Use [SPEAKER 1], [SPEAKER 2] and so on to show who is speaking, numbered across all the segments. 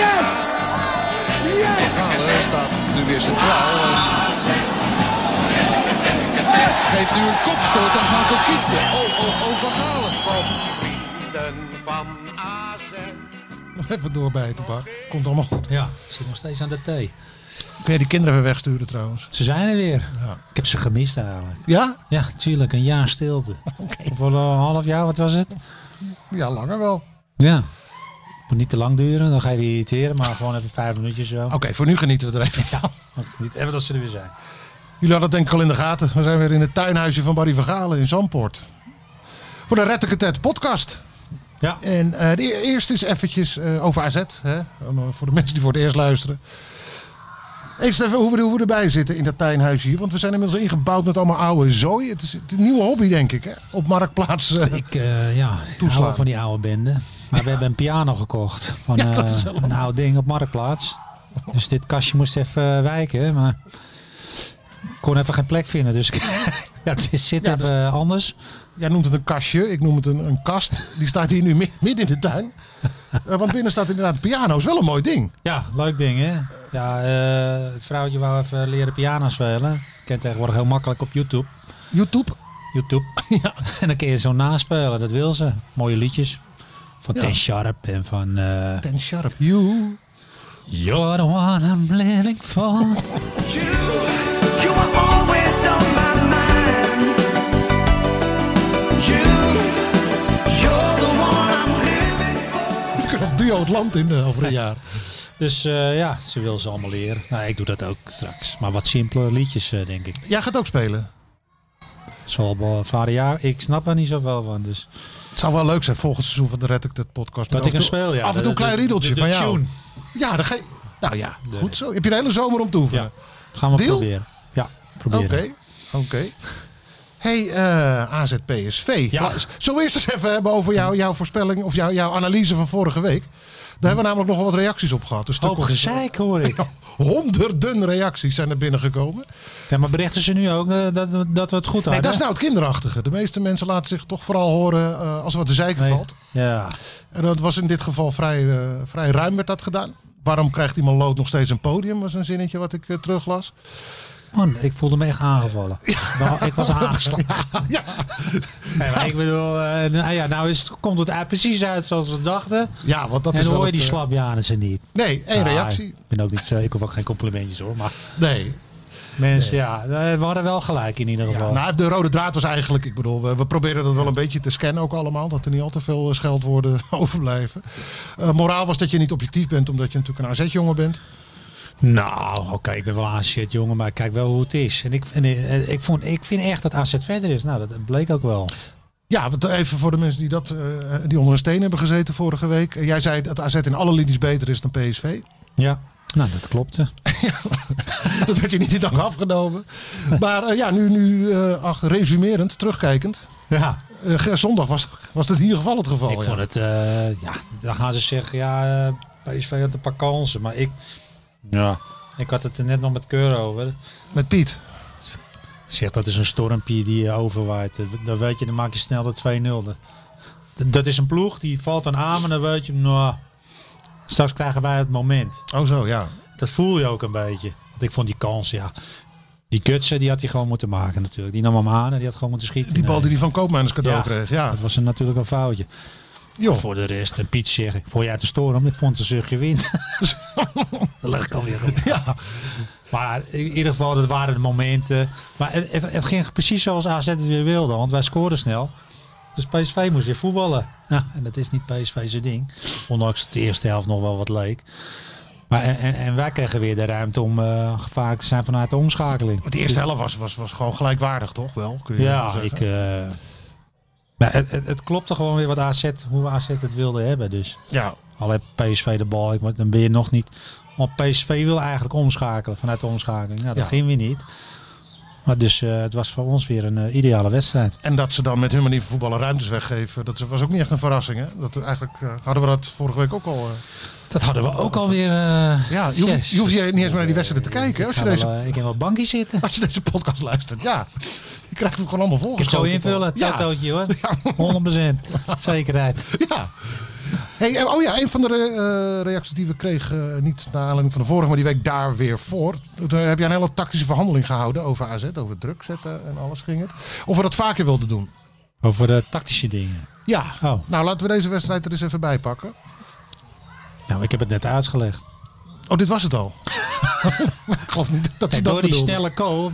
[SPEAKER 1] Yes! Yes!
[SPEAKER 2] Galen staat nu weer centraal. En geeft nu een kopstoot aan Van Kokitsen. Oh, oh, oh, Van Galen.
[SPEAKER 3] Nog even door bij het park. Komt allemaal goed.
[SPEAKER 4] Ja, ik zit nog steeds aan de thee.
[SPEAKER 3] Kun je die kinderen weer wegsturen trouwens?
[SPEAKER 4] Ze zijn er weer. Ik heb ze gemist eigenlijk.
[SPEAKER 3] Ja?
[SPEAKER 4] Ja, tuurlijk. Een jaar stilte. Of wel een half jaar, wat was het?
[SPEAKER 3] Ja, langer wel. Oké,
[SPEAKER 4] Ja. Moet niet te lang duren, dan ga je weer irriteren. Maar gewoon even vijf minuutjes zo.
[SPEAKER 3] voor nu genieten we er even
[SPEAKER 4] Ja,
[SPEAKER 3] van.
[SPEAKER 4] want niet even dat ze er weer zijn.
[SPEAKER 3] Jullie hadden het denk ik al in de gaten. We zijn weer in het tuinhuisje van Barry van Galen in Zandpoort. Voor de Red de Tet podcast.
[SPEAKER 4] Ja.
[SPEAKER 3] En eh, de e- eerste is eventjes eh, over AZ. Hè? Om, eh, voor de mensen die voor het eerst luisteren. Eerst even hoe we, hoe we erbij zitten in dat tuinhuisje hier. Want we zijn inmiddels ingebouwd met allemaal oude zooi. Het is een nieuwe hobby denk ik. Hè? Op Marktplaats. eh,
[SPEAKER 4] Ik, eh, ja, ik hou
[SPEAKER 3] Toeslaan.
[SPEAKER 4] wel van die oude bende. Maar we hebben een piano gekocht. Van
[SPEAKER 3] Ja, dat
[SPEAKER 4] eh,
[SPEAKER 3] is helemaal-
[SPEAKER 4] een oud ding op Marktplaats. Dus dit kastje moest even eh, wijken. Maar ik kon even geen plek vinden. Dus ik- ja, het zit
[SPEAKER 3] Ja,
[SPEAKER 4] even eh, anders.
[SPEAKER 3] Jij noemt het een kastje, ik noem het een, een kast. Die staat hier nu mi- midden in de tuin. Eh, want binnen staat inderdaad een piano. Is wel een mooi ding.
[SPEAKER 4] Ja, leuk ding hè. Ja, eh, het vrouwtje wou even leren piano spelen. Kent tegenwoordig heel makkelijk op YouTube.
[SPEAKER 3] YouTube.
[SPEAKER 4] YouTube.
[SPEAKER 3] Ja.
[SPEAKER 4] En dan kun je zo naspelen, dat wil ze. Mooie liedjes. Van
[SPEAKER 3] Ja.
[SPEAKER 4] Ten Sharp en van... eh,
[SPEAKER 3] Ten Sharp. You.
[SPEAKER 4] You're the one I'm living for.
[SPEAKER 3] Je kunt op duo het land in eh, over een jaar.
[SPEAKER 4] dus eh, ja, ze wil ze allemaal leren. Nou, ik doe dat ook straks. Maar wat simpeler liedjes, eh, denk ik.
[SPEAKER 3] Jij gaat ook spelen.
[SPEAKER 4] Het zal wel varia. Ik snap er niet zoveel van. Dus.
[SPEAKER 3] Het zou wel leuk zijn volgend seizoen van de Red ik dat podcast. Met
[SPEAKER 4] Dat
[SPEAKER 3] af
[SPEAKER 4] ik
[SPEAKER 3] en
[SPEAKER 4] een
[SPEAKER 3] toe-
[SPEAKER 4] speel, ja.
[SPEAKER 3] Af en toe een
[SPEAKER 4] De-
[SPEAKER 3] klein
[SPEAKER 4] de-
[SPEAKER 3] riedeltje
[SPEAKER 4] de-
[SPEAKER 3] van
[SPEAKER 4] de
[SPEAKER 3] jou.
[SPEAKER 4] tune.
[SPEAKER 3] Ja, dan ga je- Nou ja,
[SPEAKER 4] De-
[SPEAKER 3] goed zo. Heb je de hele zomer om te oefenen.
[SPEAKER 4] Ja, eh, gaan we
[SPEAKER 3] Deal?
[SPEAKER 4] proberen. Ja,
[SPEAKER 3] Oké,
[SPEAKER 4] proberen.
[SPEAKER 3] oké. Hey, eh AZPSV.
[SPEAKER 4] Ja.
[SPEAKER 3] Ja. Zo eerst eens even hebben over jou, jouw voorspelling of jouw, jouw analyse van vorige week. Daar hebben we namelijk nogal wat reacties op gehad. Een stuk
[SPEAKER 4] Hoop
[SPEAKER 3] of-
[SPEAKER 4] gezeik hoor ik.
[SPEAKER 3] Honderden reacties zijn er binnengekomen.
[SPEAKER 4] Ja, maar berichten ze nu ook eh, dat, dat, we het goed hadden?
[SPEAKER 3] Nee, dat is nou het kinderachtige. De meeste mensen laten zich toch vooral horen eh, als er wat te zeiken
[SPEAKER 4] Nee.
[SPEAKER 3] valt.
[SPEAKER 4] Ja.
[SPEAKER 3] En dat was in dit geval vrij, eh, vrij ruim werd dat gedaan. Waarom krijgt iemand lood nog steeds een podium? Was een zinnetje wat ik eh, teruglas.
[SPEAKER 4] Man, ik voelde me echt aangevallen. Nou, ik was aangeslagen.
[SPEAKER 3] Ja,
[SPEAKER 4] Nee, maar ik bedoel, eh, nou, ja, nou is, het- komt het uit- precies uit zoals we dachten.
[SPEAKER 3] ja want dat
[SPEAKER 4] en
[SPEAKER 3] is
[SPEAKER 4] dan
[SPEAKER 3] wel
[SPEAKER 4] hoor je
[SPEAKER 3] het,
[SPEAKER 4] die
[SPEAKER 3] eh,
[SPEAKER 4] slapjanissen niet.
[SPEAKER 3] Nee, één
[SPEAKER 4] Ah,
[SPEAKER 3] reactie.
[SPEAKER 4] Ik, ben ook niet, eh, ik hoef ook geen complimentjes hoor. Maar
[SPEAKER 3] Nee,
[SPEAKER 4] mensen, ja, eh, we hadden wel gelijk in ieder
[SPEAKER 3] Ja,
[SPEAKER 4] geval.
[SPEAKER 3] nou, de rode draad was eigenlijk, ik bedoel, we, we proberen dat wel een beetje te scannen ook allemaal. Dat er niet al te veel eh, scheldwoorden overblijven. Eh, moraal was dat je niet objectief bent, omdat je natuurlijk een AZ-jongen bent.
[SPEAKER 4] Nou, oké, ik ben wel aan shit jongen, maar kijk wel hoe het is. En ik, en, eh, ik, vond, ik vind echt dat AZ verder is. Nou, dat bleek ook wel.
[SPEAKER 3] Ja, want even voor de mensen die, dat, eh, die onder een steen hebben gezeten vorige week. Eh, jij zei dat AZ in alle linies beter is dan PSV.
[SPEAKER 4] Ja, nou, dat klopte.
[SPEAKER 3] dat werd je niet in dank afgenomen. Maar eh, ja, nu, nu eh, ach, resumerend, terugkijkend.
[SPEAKER 4] Ja,
[SPEAKER 3] eh, ge- zondag was, was dat in ieder geval het geval.
[SPEAKER 4] ik
[SPEAKER 3] ja.
[SPEAKER 4] vond het, eh, ja, dan gaan ze zeggen, ja, eh, PSV had een paar kansen. Maar ik, ja, ik had het er net nog met Keur over.
[SPEAKER 3] Met Piet.
[SPEAKER 4] Zeg, dat is een stormpje die je overwaait. Dan weet je, dan maak je snel de 2-0. D- Dat is een ploeg, die valt dan aan, maar dan weet je, nou, straks krijgen wij het moment.
[SPEAKER 3] Oh zo, ja.
[SPEAKER 4] Dat voel je ook een beetje. Want ik vond die kans, ja. Die gutsen, die had hij gewoon moeten maken natuurlijk. Die nam hem aan en die had gewoon moeten schieten.
[SPEAKER 3] Die bal
[SPEAKER 4] Nee.
[SPEAKER 3] die hij van Koopmijners cadeau kreeg. Ja,
[SPEAKER 4] Dat was een, natuurlijk een foutje.
[SPEAKER 3] joh.
[SPEAKER 4] Voor de rest, en Piet zegt, ik vond je uit de storm? Ik vond het een zuchtje wind. dat leg ik alweer op.
[SPEAKER 3] Ja.
[SPEAKER 4] Maar in ieder geval, dat waren de momenten. Maar het, het- het ging precies zoals AZ het weer wilde, want wij scoorden snel. Dus PSV moest weer voetballen. Ja, en dat is niet PSV zijn ding. Ondanks dat de eerste helft nog wel wat leek. Maar en, en, en wij kregen weer de ruimte om eh gevaarlijk te zijn vanuit de omschakeling.
[SPEAKER 3] Want de eerste helft was, was, was gewoon gelijkwaardig, toch? Wel, kun je wel
[SPEAKER 4] Ja,
[SPEAKER 3] zeggen.
[SPEAKER 4] ik... eh, maar het, het, het klopte gewoon weer wat AZ, hoe AZ het wilde hebben. Dus
[SPEAKER 3] ja.
[SPEAKER 4] Al heeft PSV de bal, ik moet- dan ben je nog niet. Want PSV wil eigenlijk omschakelen vanuit de omschakeling. Nou, dat
[SPEAKER 3] Ja.
[SPEAKER 4] ging weer niet. Maar dus eh, het was voor ons weer een eh, ideale wedstrijd.
[SPEAKER 3] En dat ze dan met hun manier van voetballen ruimtes weggeven, dat was ook niet echt een verrassing. Hè? Dat, eigenlijk eh, hadden we dat vorige week ook al. eh.
[SPEAKER 4] Dat hadden we ook alweer. eh
[SPEAKER 3] ja, je hoeft,
[SPEAKER 4] yes.
[SPEAKER 3] je hoeft je niet eens meer naar die wedstrijden te kijken hè, als
[SPEAKER 4] Ik ga
[SPEAKER 3] je, deze,
[SPEAKER 4] wel, eh, ik heb wel bankje zitten. Ik
[SPEAKER 3] als je deze podcast luistert. Ja, je krijgt het gewoon allemaal
[SPEAKER 4] kan het
[SPEAKER 3] volgeschoten.
[SPEAKER 4] zo invullen,
[SPEAKER 3] Ja.
[SPEAKER 4] totootje hoor. 100% zekerheid.
[SPEAKER 3] Ja. Hey, eh, oh ja, een van de eh, reacties die we kregen, eh, niet naar aanleiding van de vorige, maar die week daar weer voor. Toen heb jij een hele tactische verhandeling gehouden over AZ, over druk zetten en alles ging het. Of we dat vaker wilden doen.
[SPEAKER 4] Over de tactische dingen.
[SPEAKER 3] Ja,
[SPEAKER 4] Oh.
[SPEAKER 3] nou laten we deze wedstrijd er eens even bij pakken.
[SPEAKER 4] Nou, ik heb het net uitgelegd.
[SPEAKER 3] Oh, dit was het al. ik geloof niet dat ze
[SPEAKER 4] Kijk,
[SPEAKER 3] dat
[SPEAKER 4] door die
[SPEAKER 3] bedoelden.
[SPEAKER 4] snelle kool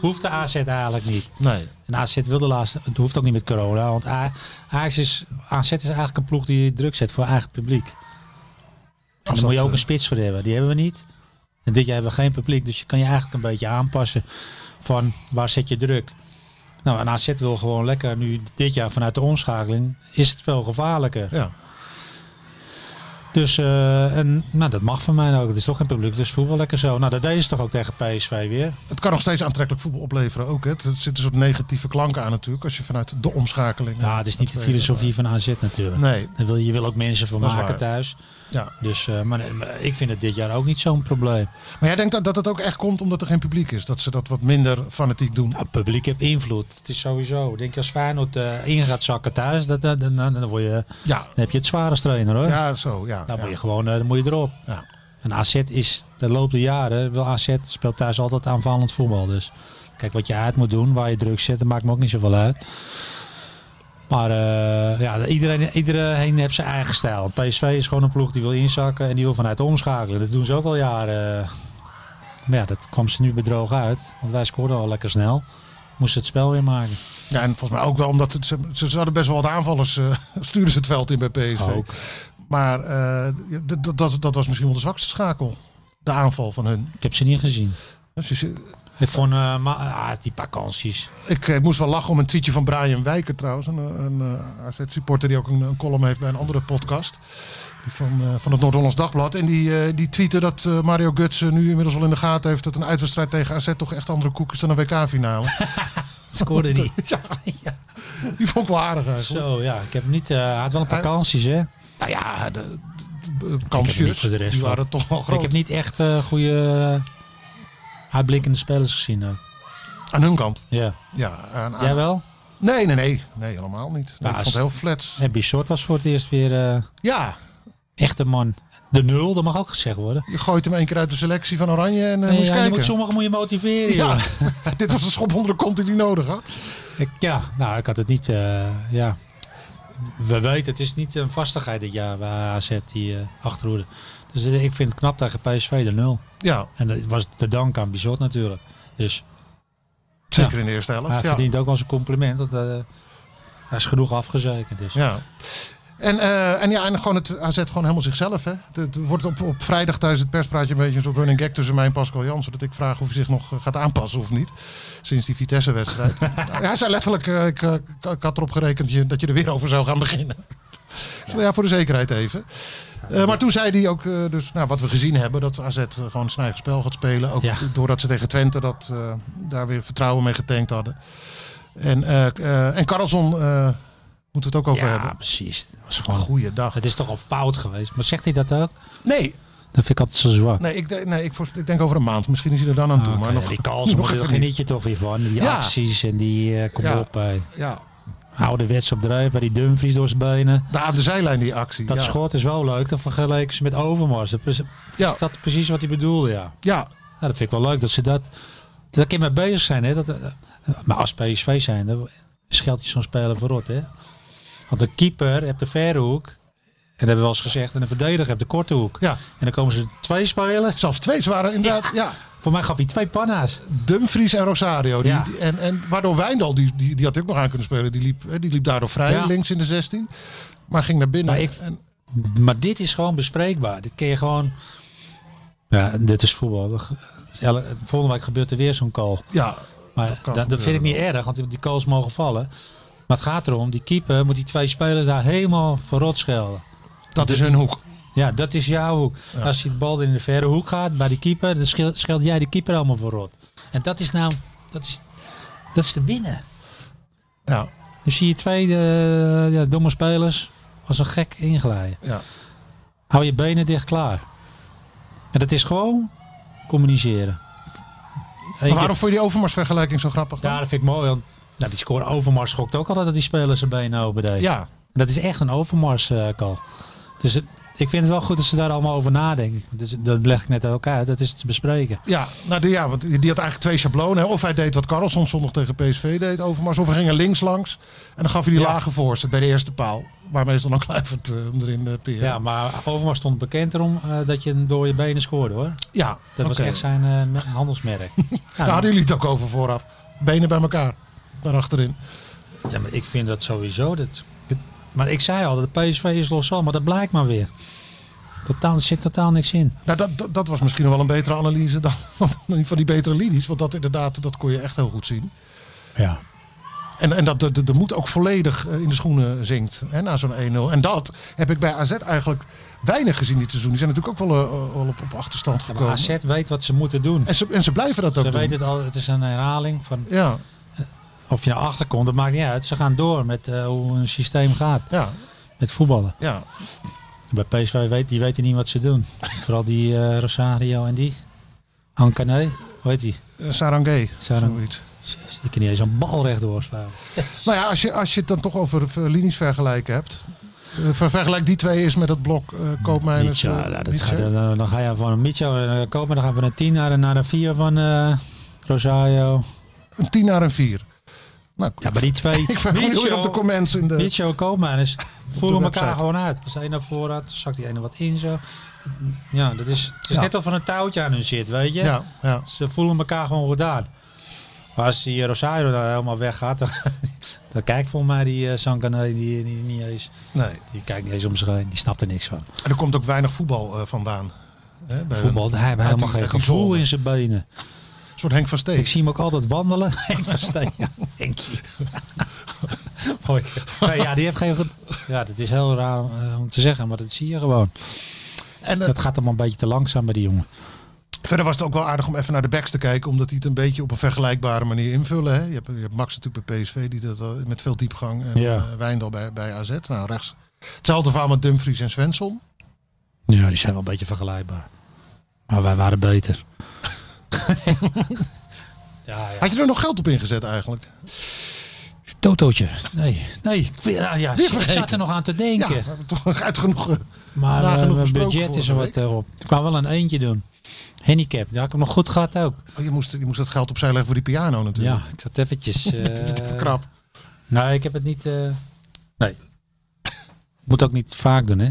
[SPEAKER 4] hoeft de AZ eigenlijk niet.
[SPEAKER 3] Nee.
[SPEAKER 4] En AZ wil de laatste, het hoeft ook niet met corona. Want A- AZ is, AZ is eigenlijk een ploeg die druk zet voor eigen publiek. En
[SPEAKER 3] dat,
[SPEAKER 4] daar moet je ook
[SPEAKER 3] eh,
[SPEAKER 4] een spits voor hebben. Die hebben we niet. En dit jaar hebben we geen publiek. Dus je kan je eigenlijk een beetje aanpassen van waar zet je druk. Nou, en AZ wil gewoon lekker nu dit jaar vanuit de omschakeling is het veel gevaarlijker.
[SPEAKER 3] Ja.
[SPEAKER 4] Dus eh, en, nou, dat mag van mij ook. Het is toch geen publiek, dus voetbal lekker zo. Nou, dat deden ze toch ook tegen PSV weer.
[SPEAKER 3] Het kan nog steeds aantrekkelijk voetbal opleveren ook. Hè. Er zit een soort negatieve klank aan natuurlijk, als je vanuit de omschakeling...
[SPEAKER 4] Ja, het is niet de filosofie van AZ natuurlijk.
[SPEAKER 3] Nee,
[SPEAKER 4] Dan wil, je wil ook mensen voor
[SPEAKER 3] Dat is
[SPEAKER 4] maken
[SPEAKER 3] waar.
[SPEAKER 4] thuis.
[SPEAKER 3] ja.
[SPEAKER 4] Dus, eh, maar, maar ik vind het dit jaar ook niet zo'n probleem.
[SPEAKER 3] Maar jij denkt dat, dat het ook echt komt omdat er geen publiek is? Dat ze dat wat minder fanatiek doen?
[SPEAKER 4] Nou, het publiek heeft invloed. Het is sowieso. Ik Denk je als Feyenoord eh, in gaat zakken thuis, dat, dat- dan, dan, dan word je,
[SPEAKER 3] Ja,
[SPEAKER 4] dan heb je het zwaarste trainer hoor.
[SPEAKER 3] ja zo, ja.
[SPEAKER 4] Dan, moet
[SPEAKER 3] ja.
[SPEAKER 4] je gewoon, eh, dan moet je erop.
[SPEAKER 3] Ja.
[SPEAKER 4] En AZ is, de loop der jaren, wil AZ speelt thuis altijd aanvallend voetbal. Dus kijk wat je uit moet doen, waar je druk zet, dat maakt me ook niet zoveel uit. Maar eh, ja, iedereen, iedereen heeft zijn eigen stijl. PSV is gewoon een ploeg die wil inzakken en die wil vanuit omschakelen. Dat doen ze ook al jaren. Maar ja, dat kwam ze nu bedroog uit. Want wij scoorden al lekker snel. Moesten het spel weer maken.
[SPEAKER 3] Ja, en volgens mij ook wel omdat het- ze, ze hadden best wel wat aanvallers, eh stuurden ze het veld in bij PSV.
[SPEAKER 4] Ook.
[SPEAKER 3] Maar eh, d- dat, dat, dat was misschien wel de zwakste schakel, de aanval van hun.
[SPEAKER 4] Ik heb ze niet gezien.
[SPEAKER 3] Dus je zit-
[SPEAKER 4] Ik vond eh, ma- ah, die paar kansjes.
[SPEAKER 3] ik eh, moest wel lachen om een tweetje van Brian Wijker trouwens, een, een eh, AZ-supporter die ook een, een column heeft bij een andere podcast. Die van, eh, van het Noord-Hollands Dagblad. En die, eh, die tweette dat eh, Mario Götze nu inmiddels al in de gaten heeft dat een uitwedstrijd tegen AZ toch echt andere koek is dan een WK-finale.
[SPEAKER 4] Scoorde niet.
[SPEAKER 3] die vond ik wel aardig eigenlijk.
[SPEAKER 4] Zo ja, ik heb hem niet. eh, hij had wel een paar kansjes, hè?
[SPEAKER 3] Nou ja, de, de, de
[SPEAKER 4] Ik heb niet
[SPEAKER 3] kansjes,
[SPEAKER 4] voor de rest
[SPEAKER 3] die
[SPEAKER 4] wat.
[SPEAKER 3] waren toch wel groot.
[SPEAKER 4] Ik heb niet echt eh goede eh, uitblinkende spelers gezien. ook.
[SPEAKER 3] Aan hun kant.
[SPEAKER 4] Ja.
[SPEAKER 3] Ja, aan, aan-
[SPEAKER 4] Jij wel?
[SPEAKER 3] Nee, nee, nee. Nee, helemaal niet. Nee, ik
[SPEAKER 4] Nou,
[SPEAKER 3] vond
[SPEAKER 4] als-
[SPEAKER 3] het heel flats.
[SPEAKER 4] En Bissot was voor het eerst weer eh
[SPEAKER 3] Ja,
[SPEAKER 4] echt een man. De nul, dat mag ook gezegd worden.
[SPEAKER 3] je gooit hem één keer uit de selectie van Oranje en eh
[SPEAKER 4] Nee,
[SPEAKER 3] moest
[SPEAKER 4] ja, je
[SPEAKER 3] kijken.
[SPEAKER 4] moet, sommigen moet je motiveren.
[SPEAKER 3] ja,
[SPEAKER 4] joh.
[SPEAKER 3] dit was de schop onder de kont die hij nodig had.
[SPEAKER 4] Ik, ja, nou, ik had het niet. eh, ja. We weten, het is niet een vastigheid dit jaar bij AZ, die eh, achterhoede. Dus eh, ik vind het knap tegen PSV de nul.
[SPEAKER 3] Ja,
[SPEAKER 4] En dat was te danken aan Bissot natuurlijk. Dus
[SPEAKER 3] zeker in de eerste helft.
[SPEAKER 4] hij
[SPEAKER 3] ja.
[SPEAKER 4] verdient ook wel zijn compliment. Want, eh, hij is genoeg afgezekerd. Dus.
[SPEAKER 3] Ja. En, eh, en ja, en gewoon het AZ gewoon helemaal zichzelf. Hè. Het, het wordt op, op vrijdag tijdens het perspraatje een beetje een soort running gag tussen mij en Pascal Jansen. Dat ik vraag of hij zich nog eh, gaat aanpassen of niet. Sinds die Vitesse-wedstrijd. Ja, hij zei letterlijk, eh, ik, eh, ik- ik had erop gerekend je- dat je er weer over zou gaan beginnen. Ja, ja voor de zekerheid even. Eh, maar toen zei hij ook, eh, dus, nou, wat we gezien hebben, dat AZ gewoon een eigen spel gaat spelen. Ook
[SPEAKER 4] Ja.
[SPEAKER 3] doordat ze tegen Twente dat, eh, daar weer vertrouwen mee getankt hadden. En, eh eh, en Carlson eh, moeten we het ook over hebben.
[SPEAKER 4] Ja, precies. Dat was gewoon
[SPEAKER 3] Goeiedag.
[SPEAKER 4] Het is toch al fout geweest. Maar zegt hij dat ook?
[SPEAKER 3] Nee,
[SPEAKER 4] Dat vind ik altijd zo zwak.
[SPEAKER 3] nee, ik, de- nee ik, voor- ik denk over een maand. Misschien is hij er dan aan toe.
[SPEAKER 4] Ah,
[SPEAKER 3] maar
[SPEAKER 4] oké,
[SPEAKER 3] nog,
[SPEAKER 4] die Carlsen
[SPEAKER 3] nog
[SPEAKER 4] maar daar
[SPEAKER 3] even niet.
[SPEAKER 4] geniet je toch weer van. Die
[SPEAKER 3] Ja.
[SPEAKER 4] acties en die eh, kom
[SPEAKER 3] Ja.
[SPEAKER 4] op. Hey.
[SPEAKER 3] Ja,
[SPEAKER 4] Ouderwets op drijf bij die Dumfries door zijn benen.
[SPEAKER 3] daar aan de zijlijn die actie.
[SPEAKER 4] Dat
[SPEAKER 3] ja.
[SPEAKER 4] schot is wel leuk. Dat vergeleken ze met Overmars. Dat is,
[SPEAKER 3] Ja.
[SPEAKER 4] is dat precies wat hij bedoelde, ja.
[SPEAKER 3] Ja,
[SPEAKER 4] Ja, dat vind ik wel leuk dat ze dat. Dat ik mee bezig zijn, hè? Dat, eh, maar als PSV zijn, dan scheldt je zo'n speler voor rot, hè? Want de keeper hebt de verre hoek. En dat hebben we wel eens gezegd. En de verdediger hebt de korte hoek.
[SPEAKER 3] Ja.
[SPEAKER 4] En dan komen ze twee spelers.
[SPEAKER 3] zelfs twee zware inderdaad. Ja.
[SPEAKER 4] Voor mij gaf hij twee panna's.
[SPEAKER 3] Dumfries en Rosario. Die,
[SPEAKER 4] Ja.
[SPEAKER 3] die- en, en waardoor Wijndal, die, die, die had hij ook nog aan kunnen spelen. Die liep, hè, die liep daardoor vrij
[SPEAKER 4] Ja.
[SPEAKER 3] links in de 16. Maar ging naar binnen.
[SPEAKER 4] Maar ik-
[SPEAKER 3] en,
[SPEAKER 4] Maar dit is gewoon bespreekbaar. Dit kun je gewoon. Ja, dit is voetbal. Dat is elke- Volgende week gebeurt er weer zo'n call.
[SPEAKER 3] ja,
[SPEAKER 4] Maar
[SPEAKER 3] Dat
[SPEAKER 4] dat,
[SPEAKER 3] kan
[SPEAKER 4] dat, vind ik niet erg, want die calls mogen vallen. Maar het gaat erom, die keeper moet die twee spelers daar helemaal verrot schelden.
[SPEAKER 3] dat is hun hoek.
[SPEAKER 4] Ja, dat is jouw hoek. Als je de bal in de verre hoek gaat bij de keeper, dan schel- scheld jij de keeper allemaal voor rot. En dat is nou, dat is, dat is te winnen.
[SPEAKER 3] Ja,
[SPEAKER 4] Dus zie je twee eh, ja, domme spelers als een gek inglijden.
[SPEAKER 3] ja.
[SPEAKER 4] Hou je benen dicht klaar. En dat is gewoon communiceren.
[SPEAKER 3] Maar waarom vond je die overmarsvergelijking zo grappig? dan?
[SPEAKER 4] Ja, dat vind ik mooi. Want, nou, die score Overmars schokt ook altijd dat die spelers zijn benen open deed.
[SPEAKER 3] ja.
[SPEAKER 4] En Dat is echt een overmars eh, call. Dus het- ik vind het wel goed dat ze daar allemaal over nadenken. Dus dat leg ik net ook uit. Dat is te bespreken.
[SPEAKER 3] Ja, nou, die, ja, want die die had eigenlijk twee schablonen. hè. Of hij deed wat Carlson zondag tegen PSV deed, Overmars. Of hij ging er links langs. En dan gaf hij die
[SPEAKER 4] Ja.
[SPEAKER 3] lage voorzet bij de eerste paal. Waar meestal dan Kluivert eh, hem erin eh
[SPEAKER 4] Ja,
[SPEAKER 3] peert. Ja,
[SPEAKER 4] maar Overmars stond bekend erom eh, dat je hem door je benen scoorde hoor.
[SPEAKER 3] ja
[SPEAKER 4] Dat was echt zijn eh, me- handelsmerk. Ja,
[SPEAKER 3] Daar hadden jullie het ook over vooraf. Benen bij elkaar. Daarachterin.
[SPEAKER 4] ja, maar ik vind dat sowieso. Dat, dat- maar ik zei al, dat de PSV is los al, maar dat blijkt maar weer. Totaal, er zit totaal niks in.
[SPEAKER 3] Nou, dat, dat, dat was misschien nog wel een betere analyse dan dan die van die betere linies. Want dat inderdaad, dat kon je echt heel goed zien.
[SPEAKER 4] Ja.
[SPEAKER 3] En, en dat de, de, de moed ook volledig eh, in de schoenen zinkt hè, na zo'n 1-0. En dat heb ik bij AZ eigenlijk weinig gezien dit seizoen. Die zijn natuurlijk ook wel eh, al op, op achterstand
[SPEAKER 4] Ja, maar
[SPEAKER 3] gekomen.
[SPEAKER 4] AZ weet wat ze moeten doen.
[SPEAKER 3] en, ze, en ze blijven dat ook
[SPEAKER 4] Ze
[SPEAKER 3] doen.
[SPEAKER 4] weten het al, het is een herhaling van
[SPEAKER 3] Ja,
[SPEAKER 4] Of je naar achter komt, dat maakt niet uit. Ze gaan door met eh, hoe een systeem gaat.
[SPEAKER 3] ja,
[SPEAKER 4] Met voetballen.
[SPEAKER 3] ja.
[SPEAKER 4] Bij PSV weet, die weten niet wat ze doen. Vooral die eh, Rosario en die. Hankane, hoe heet die?
[SPEAKER 3] Eh, Sarangé,
[SPEAKER 4] Sarang-
[SPEAKER 3] zoiets.
[SPEAKER 4] Jezus, Die kan niet eens een bal recht doorslaan.
[SPEAKER 3] Nou ja, als je, als je het dan toch over eh, linies vergelijken hebt. eh, ver- vergelijk die twee eens met dat blok eh Koopmeiners.
[SPEAKER 4] Micho,
[SPEAKER 3] eh,
[SPEAKER 4] nou, dat
[SPEAKER 3] Nietzsche.
[SPEAKER 4] gaat, dan, dan ga je van een Micho eh, kopen, dan gaan we van een 10 naar, een- naar een 4 van eh, Rosario.
[SPEAKER 3] Een tien naar een vier. Nou,
[SPEAKER 4] Ja, maar die twee.
[SPEAKER 3] ik vergoed je op de
[SPEAKER 4] Micho,
[SPEAKER 3] comments in de...
[SPEAKER 4] Micho en Koopmeiners voeren elkaar
[SPEAKER 3] website.
[SPEAKER 4] gewoon uit. Als de een naar voren had, zakt die ene wat in zo. Ja, dat is, het is
[SPEAKER 3] Ja.
[SPEAKER 4] net of er een touwtje aan hun zit, weet je.
[SPEAKER 3] Ja, ja.
[SPEAKER 4] Ze voelen elkaar gewoon gedaan. Maar als die eh, Rosario daar helemaal weggaat, dan, dan kijkt volgens mij die eh Sankane die, die niet eens.
[SPEAKER 3] Nee.
[SPEAKER 4] Die kijkt niet eens om zich heen, die snapt er niks van.
[SPEAKER 3] En er komt ook weinig voetbal eh, vandaan. Hè, bij hun.
[SPEAKER 4] Voetbal, hij heeft
[SPEAKER 3] uit
[SPEAKER 4] helemaal
[SPEAKER 3] die-
[SPEAKER 4] geen
[SPEAKER 3] uit die
[SPEAKER 4] gevoel
[SPEAKER 3] zone.
[SPEAKER 4] in zijn benen.
[SPEAKER 3] Een soort Henk van Steek.
[SPEAKER 4] Ik zie hem ook altijd wandelen. Ik versteek. Ja, Henkie. Mooi. Nee, ja, die heeft geen. ge- Ja, dat is heel raar eh, om te zeggen, maar dat zie je gewoon.
[SPEAKER 3] En eh,
[SPEAKER 4] Dat gaat allemaal een beetje te langzaam bij die jongen.
[SPEAKER 3] verder was het ook wel aardig om even naar de backs te kijken. Omdat die het een beetje op een vergelijkbare manier invullen. Hè. Je, hebt, je hebt Max natuurlijk bij PSV die dat, eh, met veel diepgang. En
[SPEAKER 4] Ja.
[SPEAKER 3] eh, Wijndal bij, bij AZ. Nou, rechts. Hetzelfde verhaal met Dumfries en Svensson.
[SPEAKER 4] Ja, die zijn wel een beetje vergelijkbaar. Maar wij waren beter. ja, ja.
[SPEAKER 3] Had je er nog geld op ingezet eigenlijk?
[SPEAKER 4] Totootje. Nee, nee. Ik, weet- ah, ja, ik zat er nog aan te
[SPEAKER 3] Ja, we
[SPEAKER 4] denken.
[SPEAKER 3] hebben toch uit genoeg. eh,
[SPEAKER 4] maar
[SPEAKER 3] nagenoeg
[SPEAKER 4] eh, mijn
[SPEAKER 3] besproken
[SPEAKER 4] budget is er
[SPEAKER 3] vorige
[SPEAKER 4] wat eh, op. Ik kwam wel een eentje doen. Handicap, daar had ik hem nog goed gehad ook.
[SPEAKER 3] oh, je, moest, je moest dat geld opzij leggen voor die piano natuurlijk.
[SPEAKER 4] Ja, ik zat eventjes... eh, Het
[SPEAKER 3] Dat is te verkrap.
[SPEAKER 4] Nee, ik heb het niet... eh, nee. Moet ook niet vaak doen, hè?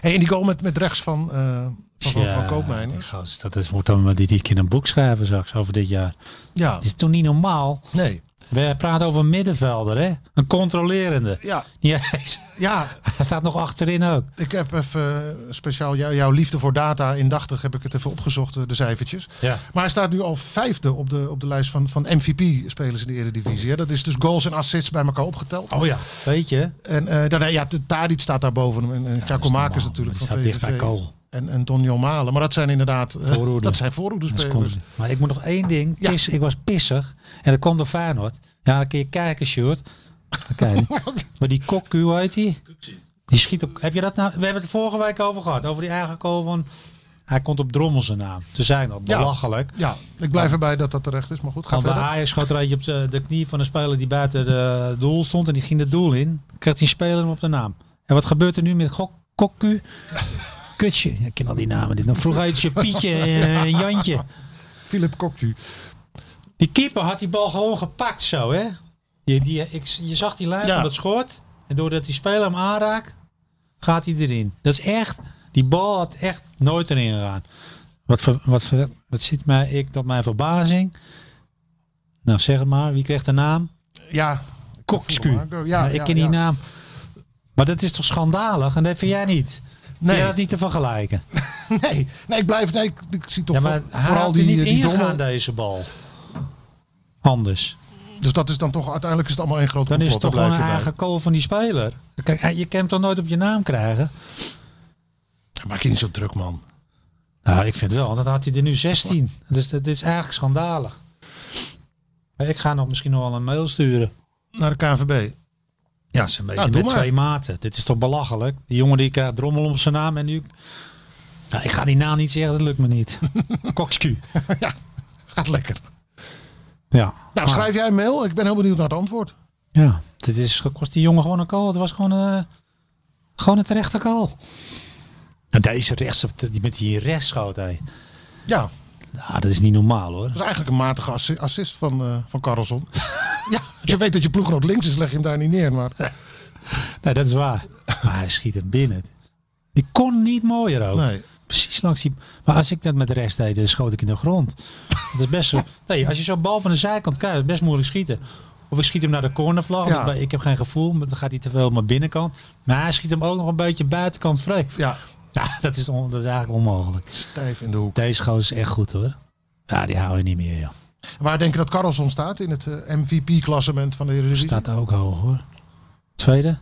[SPEAKER 3] Hey, en die goal met, met rechts van, eh van, van, van Koopmeiners.
[SPEAKER 4] die gozer, Dat is, moet dan maar die, die keer een boek schrijven straks over dit jaar.
[SPEAKER 3] Ja,
[SPEAKER 4] Het is toen niet normaal.
[SPEAKER 3] nee.
[SPEAKER 4] We praten over een middenvelder, hè? Een controlerende.
[SPEAKER 3] Ja,
[SPEAKER 4] Ja, hij
[SPEAKER 3] ja,
[SPEAKER 4] staat nog achterin ook.
[SPEAKER 3] Ik heb even eh, speciaal jou- jouw liefde voor data indachtig heb ik het even opgezocht, eh, de cijfertjes.
[SPEAKER 4] Ja.
[SPEAKER 3] Maar hij staat nu al vijfde op de, op de lijst van, van MVP-spelers in de Eredivisie. Hè. Dat is dus goals en assists bij elkaar opgeteld.
[SPEAKER 4] Oh ja. Weet je?
[SPEAKER 3] En eh dan, eh, ja, de- Tadic staat daar boven hem. En, en Chaco Makers natuurlijk
[SPEAKER 4] Die
[SPEAKER 3] van
[SPEAKER 4] staat dicht bij
[SPEAKER 3] VVV.
[SPEAKER 4] Kool.
[SPEAKER 3] En, en Donjon Malen. Maar dat zijn inderdaad eh,
[SPEAKER 4] Voorhoede.
[SPEAKER 3] dat zijn
[SPEAKER 4] Dat is
[SPEAKER 3] voorhoedespelers.
[SPEAKER 4] continu. Eh, Maar ik moet nog één ding.
[SPEAKER 3] Ja.
[SPEAKER 4] Piss- ik was pissig. En dat kwam door Feyenoord. Ja, dan kun je kijken, Sjoerd. Dan kan je niet. maar die Kokku, hoe heet die? Die schiet op... Heb je dat nou... We hebben het er vorige week over gehad. Over die eigen goal van... Hij komt op Drommel zijn naam. Te zijn al
[SPEAKER 3] Ja.
[SPEAKER 4] belachelijk.
[SPEAKER 3] Ja, ik blijf erbij dat dat terecht is. Maar goed, ga
[SPEAKER 4] Want bij
[SPEAKER 3] verder.
[SPEAKER 4] Ajax schoot er eentje op de, de knie van een speler die buiten de doel stond. En die ging het doel in. Kreeg die speler hem op de naam. En wat gebeurt er nu met Gok- Kokku? Kutje. Ja, Ik ken al die namen. Dit. Dan vroeg hij het je Pietje en Jantje.
[SPEAKER 3] Philip Kokju.
[SPEAKER 4] Die keeper had die bal gewoon gepakt zo, hè? Je, die, ik, je zag die lijn
[SPEAKER 3] Ja.
[SPEAKER 4] van het schort. En doordat die speler hem aanraakt, gaat hij erin. Dat is echt... Die bal had echt nooit erin gegaan. Wat, ver- wat, ver- wat ziet mij, ik tot mijn verbazing. Nou, zeg het maar. Wie kreeg de naam?
[SPEAKER 3] Ja.
[SPEAKER 4] Koksku.
[SPEAKER 3] Ja,
[SPEAKER 4] Nou, ik
[SPEAKER 3] ja,
[SPEAKER 4] ken die
[SPEAKER 3] ja.
[SPEAKER 4] naam. Maar dat is toch schandalig? En dat vind jij niet? Nee.
[SPEAKER 3] Nee.
[SPEAKER 4] Vind jij dat niet te vergelijken?
[SPEAKER 3] Nee, nee, ik blijf. Nee, ik, ik zie toch
[SPEAKER 4] Ja, maar
[SPEAKER 3] voor-
[SPEAKER 4] hij
[SPEAKER 3] vooral
[SPEAKER 4] had die,
[SPEAKER 3] die, eh,
[SPEAKER 4] niet
[SPEAKER 3] die
[SPEAKER 4] ingegaan,
[SPEAKER 3] domme-
[SPEAKER 4] deze bal. Anders.
[SPEAKER 3] Dus dat is dan toch uiteindelijk is het allemaal één groot
[SPEAKER 4] Dan is het
[SPEAKER 3] complot.
[SPEAKER 4] toch
[SPEAKER 3] daar
[SPEAKER 4] gewoon een
[SPEAKER 3] blijf je bij.
[SPEAKER 4] eigen call van die speler. Kijk, je kan hem toch nooit op je naam krijgen?
[SPEAKER 3] Maak je niet zo druk, man.
[SPEAKER 4] Nou, ik vind wel. want Dan had hij er nu 16. Dus dat is eigenlijk schandalig. Maar ik ga nog misschien nog wel een mail sturen.
[SPEAKER 3] Naar de KNVB.
[SPEAKER 4] Ja, ze een beetje
[SPEAKER 3] Nou, doe
[SPEAKER 4] met
[SPEAKER 3] maar.
[SPEAKER 4] twee maten. Dit is toch belachelijk? Die jongen die krijgt drommel om zijn naam en nu... Nou, ik ga die naam niet zeggen, dat lukt me niet. Koksku.
[SPEAKER 3] Gaat lekker.
[SPEAKER 4] Ja.
[SPEAKER 3] Nou, schrijf jij een mail. Ik ben heel benieuwd naar het antwoord.
[SPEAKER 4] Ja, dit is gekost die jongen gewoon een call. Het was gewoon, eh gewoon een terechte call. En deze rechts, die met die rechtschoot, hé.
[SPEAKER 3] Ja,
[SPEAKER 4] Nou, dat is niet normaal hoor.
[SPEAKER 3] dat is eigenlijk een matige assi- assist van, eh, van Carlson. ja, als je weet dat je ploeggenoot links is, leg je hem daar niet neer. Maar
[SPEAKER 4] Nee, dat is waar. Maar hij schiet hem binnen. Die kon niet mooier ook.
[SPEAKER 3] nee.
[SPEAKER 4] Precies langs die... Maar als ik dat met de rest deed, dan schoot ik in de grond. Dat is best zo... Nee, als je zo'n bal van de zijkant kijkt, is het best moeilijk schieten. Of ik schiet hem naar de cornervlag.
[SPEAKER 3] Ja.
[SPEAKER 4] maar Ik heb geen gevoel, maar dan gaat hij te veel op mijn binnenkant. Maar hij schiet hem ook nog een beetje buitenkant vrij.
[SPEAKER 3] Ja,
[SPEAKER 4] Ja, dat is, on- dat is eigenlijk onmogelijk.
[SPEAKER 3] stijf in de hoek.
[SPEAKER 4] Deze gozer is echt goed hoor. Ja, die hou je niet meer, joh.
[SPEAKER 3] Waar denk je dat Carlson staat in het eh, MVP-klassement van de Eredivisie?
[SPEAKER 4] Staat ook hoog hoor. Tweede?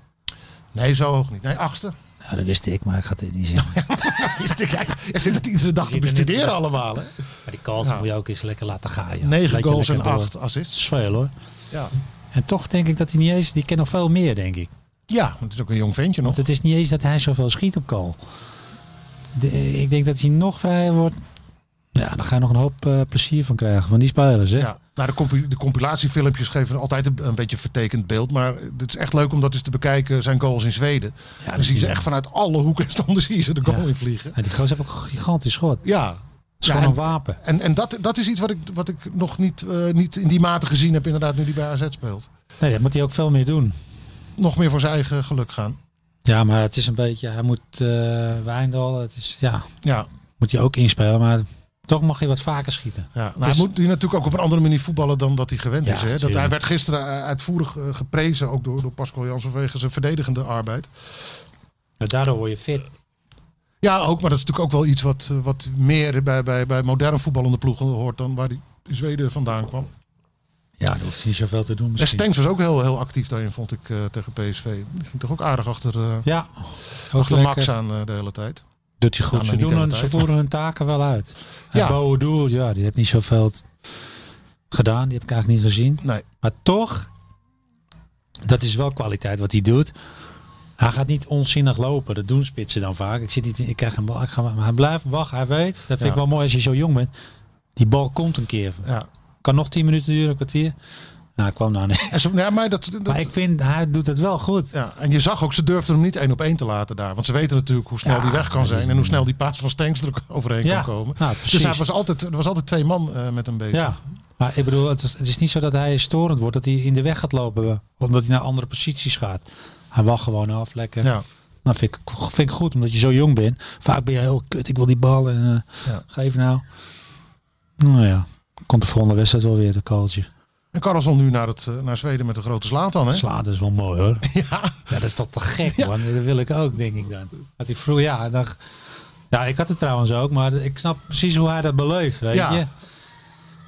[SPEAKER 3] Nee, zo hoog niet. Nee, achtste.
[SPEAKER 4] Ja, dat wist ik, maar ik ga dit niet zeggen.
[SPEAKER 3] Is dit- Kijk, je zit het iedere dag te
[SPEAKER 4] Zit er niet-
[SPEAKER 3] bestuderen allemaal. Hè?
[SPEAKER 4] Maar die calls moet je ook eens lekker laten gaan, joh.
[SPEAKER 3] Negen
[SPEAKER 4] Beetje
[SPEAKER 3] goals en
[SPEAKER 4] lekker door.
[SPEAKER 3] acht
[SPEAKER 4] Dat
[SPEAKER 3] assists.
[SPEAKER 4] is veel hoor.
[SPEAKER 3] Ja.
[SPEAKER 4] En toch denk ik dat hij niet eens... Die kent nog veel meer, denk ik.
[SPEAKER 3] ja, want het is ook een jong ventje nog.
[SPEAKER 4] Want het is niet eens dat hij zoveel schiet op call. De- ik denk dat hij nog vrijer wordt. Ja, daar ga je nog een hoop eh, plezier van krijgen, van die spelers, hè?
[SPEAKER 3] Ja, nou, de, compu- de compilatiefilmpjes geven altijd een, een beetje een vertekend beeld. Maar het is echt leuk om dat eens te bekijken. Zijn goals in Zweden.
[SPEAKER 4] dat
[SPEAKER 3] dan
[SPEAKER 4] is
[SPEAKER 3] zie je ze
[SPEAKER 4] niet-
[SPEAKER 3] echt vanuit alle hoeken en standen zie je ze de goal
[SPEAKER 4] Ja.
[SPEAKER 3] in vliegen.
[SPEAKER 4] Ja, die gozer hebben ook een gigantisch schot. Het
[SPEAKER 3] Ja.
[SPEAKER 4] is
[SPEAKER 3] Ja,
[SPEAKER 4] gewoon
[SPEAKER 3] en-
[SPEAKER 4] een wapen.
[SPEAKER 3] En, en dat, dat is iets wat ik, wat ik nog niet, eh, niet in die mate gezien heb, inderdaad, nu die bij AZ speelt.
[SPEAKER 4] Nee, dat moet hij ook veel meer doen.
[SPEAKER 3] Nog meer voor zijn eigen geluk gaan.
[SPEAKER 4] Ja, maar het is een beetje, hij moet eh Wijndal, het is, ja,
[SPEAKER 3] Ja,
[SPEAKER 4] moet hij ook inspelen, maar toch mag hij wat vaker schieten.
[SPEAKER 3] ja. Nou,
[SPEAKER 4] is-
[SPEAKER 3] hij moet nu natuurlijk ook op een andere manier voetballen dan dat hij gewend
[SPEAKER 4] Ja,
[SPEAKER 3] is. Hè? Dat,
[SPEAKER 4] tuurlijk.
[SPEAKER 3] hij werd gisteren eh, uitvoerig eh, geprezen, ook door, door Pascal Jansen, vanwege zijn verdedigende arbeid.
[SPEAKER 4] daardoor word je fit.
[SPEAKER 3] Ja, ook, maar dat is natuurlijk ook wel iets wat, eh, wat meer bij, bij, bij moderne voetballende ploegen hoort dan waar die Zweden vandaan kwam.
[SPEAKER 4] Ja, dan hoeft hij niet zoveel te doen
[SPEAKER 3] En
[SPEAKER 4] misschien.
[SPEAKER 3] Stenks was ook heel, heel actief daarin, vond ik, eh, tegen PSV. Die ging toch ook aardig achter, eh,
[SPEAKER 4] Ja, ook
[SPEAKER 3] achter Max
[SPEAKER 4] lekker.
[SPEAKER 3] aan eh, de hele tijd.
[SPEAKER 4] Doet hij
[SPEAKER 3] Ja,
[SPEAKER 4] goed.
[SPEAKER 3] maar
[SPEAKER 4] ze,
[SPEAKER 3] niet
[SPEAKER 4] doen
[SPEAKER 3] de hele
[SPEAKER 4] hun- ze
[SPEAKER 3] tijd.
[SPEAKER 4] voeren hun taken wel uit. Ja.
[SPEAKER 3] Ja.
[SPEAKER 4] Boadou, ja, die heeft niet zoveel t- gedaan, die heb ik eigenlijk niet gezien.
[SPEAKER 3] Nee,
[SPEAKER 4] Maar toch, dat is wel kwaliteit wat hij doet. Hij gaat niet onzinnig lopen. Dat doen spitsen dan vaak. Ik, zit niet in, ik krijg een bal. Ik ga, maar maar hij blijft wachten. Hij weet. Dat vind
[SPEAKER 3] Ja.
[SPEAKER 4] ik wel mooi als je zo jong bent. Die bal komt een keer.
[SPEAKER 3] ja.
[SPEAKER 4] Kan nog 10 minuten duren, een kwartier. Nou, ik kwam nou niet.
[SPEAKER 3] En, ze, ja, maar dat, dat,
[SPEAKER 4] Maar ik vind, hij doet het wel goed.
[SPEAKER 3] ja. en je zag ook, ze durfden hem niet één op één te laten daar. Want ze weten natuurlijk hoe snel
[SPEAKER 4] Ja,
[SPEAKER 3] die weg kan
[SPEAKER 4] dat is
[SPEAKER 3] zijn en hoe snel die paas van Stenks er overheen
[SPEAKER 4] Ja,
[SPEAKER 3] kan komen.
[SPEAKER 4] nou,
[SPEAKER 3] dus
[SPEAKER 4] precies.
[SPEAKER 3] hij was altijd, er was altijd twee man eh, met hem bezig.
[SPEAKER 4] Ja. Maar ik bedoel, het is, het is niet zo dat hij storend wordt. Dat hij in de weg gaat lopen. Omdat hij naar andere posities gaat. Hij wacht gewoon af, lekker.
[SPEAKER 3] Ja.
[SPEAKER 4] Nou, vind ik, vind ik goed, omdat je zo jong bent. Vaak ben je heel kut, ik wil die bal en eh,
[SPEAKER 3] Ja.
[SPEAKER 4] geef nou. Nou ja, komt de volgende wedstrijd wel weer, de calltje.
[SPEAKER 3] En Karlsson nu naar, het, eh, naar Zweden met de grote slaat dan, hè?
[SPEAKER 4] Slaat is wel mooi hoor.
[SPEAKER 3] Ja.
[SPEAKER 4] Ja, dat is toch te gek
[SPEAKER 3] Ja.
[SPEAKER 4] man. Dat wil ik ook, denk ik dan. Dat hij vroeg, ja, dan, ja, ik had het trouwens ook, maar ik snap precies hoe hij dat beleeft, weet
[SPEAKER 3] Ja.
[SPEAKER 4] je.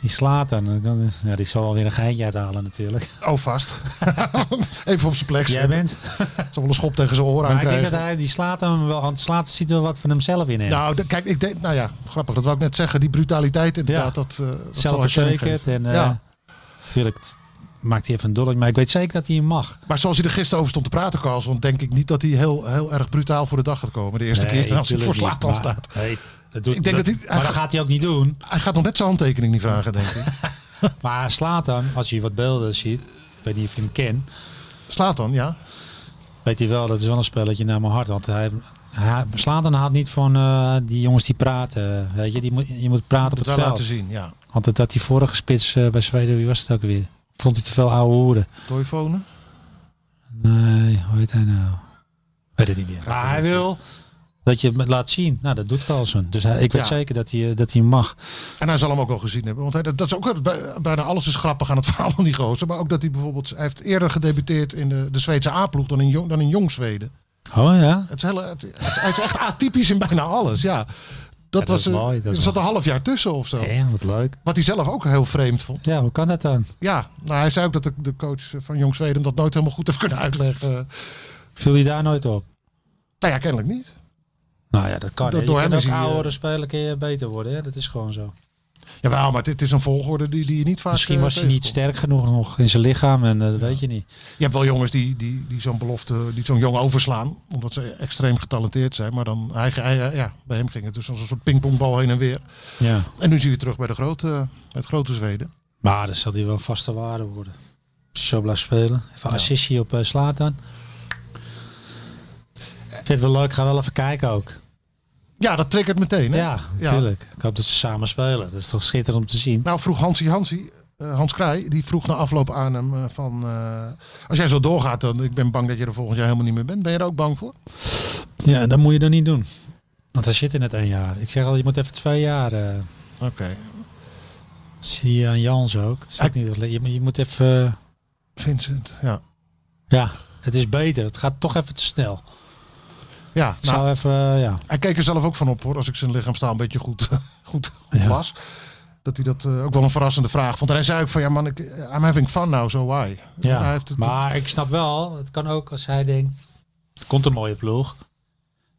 [SPEAKER 4] Die slaat dan. dan- Ja, die zal wel weer een geintje uithalen natuurlijk.
[SPEAKER 3] Oh, vast. Even op zijn plek
[SPEAKER 4] Jij
[SPEAKER 3] zetten.
[SPEAKER 4] bent.
[SPEAKER 3] Zal wel een schop tegen zijn oren aan
[SPEAKER 4] Maar ik denk
[SPEAKER 3] krijgen.
[SPEAKER 4] dat hij die slaat hem wel, want slaat ziet er wel wat van hemzelf in. hè.
[SPEAKER 3] Nou, de- kijk, ik denk, nou ja, grappig, dat wou ik net zeggen. Die brutaliteit inderdaad,
[SPEAKER 4] Ja.
[SPEAKER 3] dat, eh dat zal hij Schenk
[SPEAKER 4] zelfverzekerd.
[SPEAKER 3] geven.
[SPEAKER 4] En eh,
[SPEAKER 3] Ja.
[SPEAKER 4] natuurlijk t- maakt hij even een dollar. Maar ik weet zeker dat hij hem mag.
[SPEAKER 3] Maar zoals hij er gisteren over stond te praten, Carlson, denk ik niet dat hij heel, heel erg brutaal voor de dag gaat komen. De eerste keer als hij voor slaat dan staat.
[SPEAKER 4] dat doet,
[SPEAKER 3] Ik denk dat hij-
[SPEAKER 4] maar dat gaat hij ook niet doen.
[SPEAKER 3] Hij gaat nog net zijn handtekening niet vragen, denk ik.
[SPEAKER 4] Maar slaat dan, als je wat beelden ziet. Ik weet niet of je hem kent.
[SPEAKER 3] Slaat dan, ja.
[SPEAKER 4] Weet hij wel, dat is wel een spelletje naar mijn hart. Want hij, hij slaat dan haalt niet van eh, die jongens die praten. Weet je, die moet, je moet praten op
[SPEAKER 3] Dat
[SPEAKER 4] het
[SPEAKER 3] wel
[SPEAKER 4] veld.
[SPEAKER 3] laten zien, ja.
[SPEAKER 4] Want dat had die vorige spits eh, bij Zweden, wie was het ook weer? Vond hij te veel oude hoeren.
[SPEAKER 3] Toivonen.
[SPEAKER 4] Nee, hoe heet hij nou? Weet het niet meer. Maar Ah, hij wil dat je het laat zien. Nou, dat doet Carlsen. Dus hij, ik weet
[SPEAKER 3] Ja.
[SPEAKER 4] zeker dat hij, eh, dat hij mag.
[SPEAKER 3] En hij zal hem ook al gezien hebben. Want hij, dat, dat is ook, wel- bij- bijna alles is grappig aan het verhaal van die gozer. Maar ook dat hij bijvoorbeeld, hij heeft eerder gedebuteerd in de, de Zweedse A-ploeg dan in, jong, dan in Jong Zweden.
[SPEAKER 4] Oh ja?
[SPEAKER 3] Het is, hele, het, het- hij is echt atypisch in bijna alles, ja. Dat,
[SPEAKER 4] dat
[SPEAKER 3] was,
[SPEAKER 4] is
[SPEAKER 3] eh,
[SPEAKER 4] mooi, dat is
[SPEAKER 3] er zat een half jaar tussen of zo.
[SPEAKER 4] Ja, wat leuk.
[SPEAKER 3] Wat hij zelf ook heel vreemd vond.
[SPEAKER 4] Ja, hoe kan dat dan?
[SPEAKER 3] Ja, nou, hij zei ook dat de, de coach van Jong Zweden hem dat nooit helemaal goed heeft kunnen uitleggen.
[SPEAKER 4] Viel hij daar nooit op?
[SPEAKER 3] Nou ja, kennelijk niet.
[SPEAKER 4] Nou ja, dat kan.
[SPEAKER 3] Dat
[SPEAKER 4] hè.
[SPEAKER 3] door
[SPEAKER 4] je
[SPEAKER 3] hem
[SPEAKER 4] kunt
[SPEAKER 3] is
[SPEAKER 4] ook
[SPEAKER 3] hij, eh,
[SPEAKER 4] oudere spelen kun je beter worden. Hè? Dat is gewoon zo.
[SPEAKER 3] Jawel, maar dit is een volgorde die, die je niet vaak
[SPEAKER 4] Misschien
[SPEAKER 3] eh,
[SPEAKER 4] was hij niet
[SPEAKER 3] tegenkomt.
[SPEAKER 4] sterk genoeg nog in zijn lichaam en eh, dat weet je niet.
[SPEAKER 3] Je hebt wel jongens die, die, die zo'n belofte, die zo'n jong overslaan. Omdat ze extreem getalenteerd zijn. Maar dan, hij, hij- eh, ja, bij hem ging het dus als een soort pingpongbal heen en weer.
[SPEAKER 4] Ja.
[SPEAKER 3] En nu zie je terug bij de grote, het grote Zweden.
[SPEAKER 4] Maar dat zal hij wel een vaste waarde worden. Zo blijft spelen. Even assistie op eh Slatan. Vind het wel leuk. Ik Ga wel even kijken ook.
[SPEAKER 3] Ja, dat triggert meteen. Hè?
[SPEAKER 4] Ja, natuurlijk. Ik hoop dat ze samen spelen. Dat is toch schitterend om te zien.
[SPEAKER 3] Nou vroeg Hansie Hansie, eh, Hans Kraai, die vroeg na afloop aan hem eh, van... eh, als jij zo doorgaat, dan ik ben bang dat je er volgend jaar helemaal niet meer bent. Ben je er ook bang voor?
[SPEAKER 4] Ja, dat moet je dan niet doen. Want hij zit in het één jaar. Ik zeg al, je moet even twee jaar. eh,
[SPEAKER 3] Oké.
[SPEAKER 4] zie je aan Jans ook. Het is ook niet, dat le- je, moet- je moet even... eh,
[SPEAKER 3] Vincent, ja.
[SPEAKER 4] ja, het is beter. Het gaat toch even te snel.
[SPEAKER 3] Ja,
[SPEAKER 4] Ik
[SPEAKER 3] nou,
[SPEAKER 4] zou even... eh, ja.
[SPEAKER 3] hij keek er zelf ook van op hoor, als ik zijn lichaamstaal een beetje goed, goed, goed
[SPEAKER 4] Ja.
[SPEAKER 3] las. Dat hij dat eh, ook wel een verrassende vraag vond. En hij zei ook van, ja man, ik, eh, I'm having fun now, so why?
[SPEAKER 4] Ja,
[SPEAKER 3] Hij heeft het-
[SPEAKER 4] maar ik snap wel, het kan ook als hij denkt, er komt een mooie ploeg.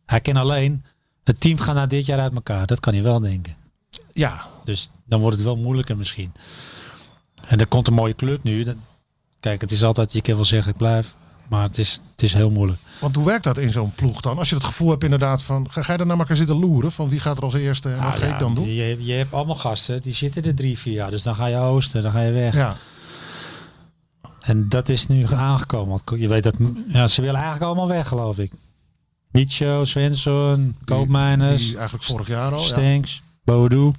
[SPEAKER 4] Hij kan alleen, het team gaat na dit jaar uit elkaar. Dat kan hij wel denken.
[SPEAKER 3] ja,
[SPEAKER 4] Dus dan wordt het wel moeilijker misschien. En er komt een mooie club nu. Dan- kijk, het is altijd, je kan wel zeggen ik blijf. Maar het is, het is heel moeilijk.
[SPEAKER 3] want hoe werkt dat in zo'n ploeg dan? Als je het gevoel hebt inderdaad van, ga, ga je dan naar elkaar zitten loeren? Van wie gaat er als eerste en wat
[SPEAKER 4] Nou
[SPEAKER 3] ga
[SPEAKER 4] ja,
[SPEAKER 3] ik dan doen?
[SPEAKER 4] Je, je hebt allemaal gasten, die zitten er drie, vier jaar. Dus dan ga je oosten, dan ga je weg.
[SPEAKER 3] Ja,
[SPEAKER 4] En dat is nu aangekomen. Want je weet dat ja, ze willen eigenlijk allemaal weg, geloof ik. Micho, Svensson, Koopmeiners.
[SPEAKER 3] die eigenlijk vorig jaar al. ja.
[SPEAKER 4] Stanks, Bodo.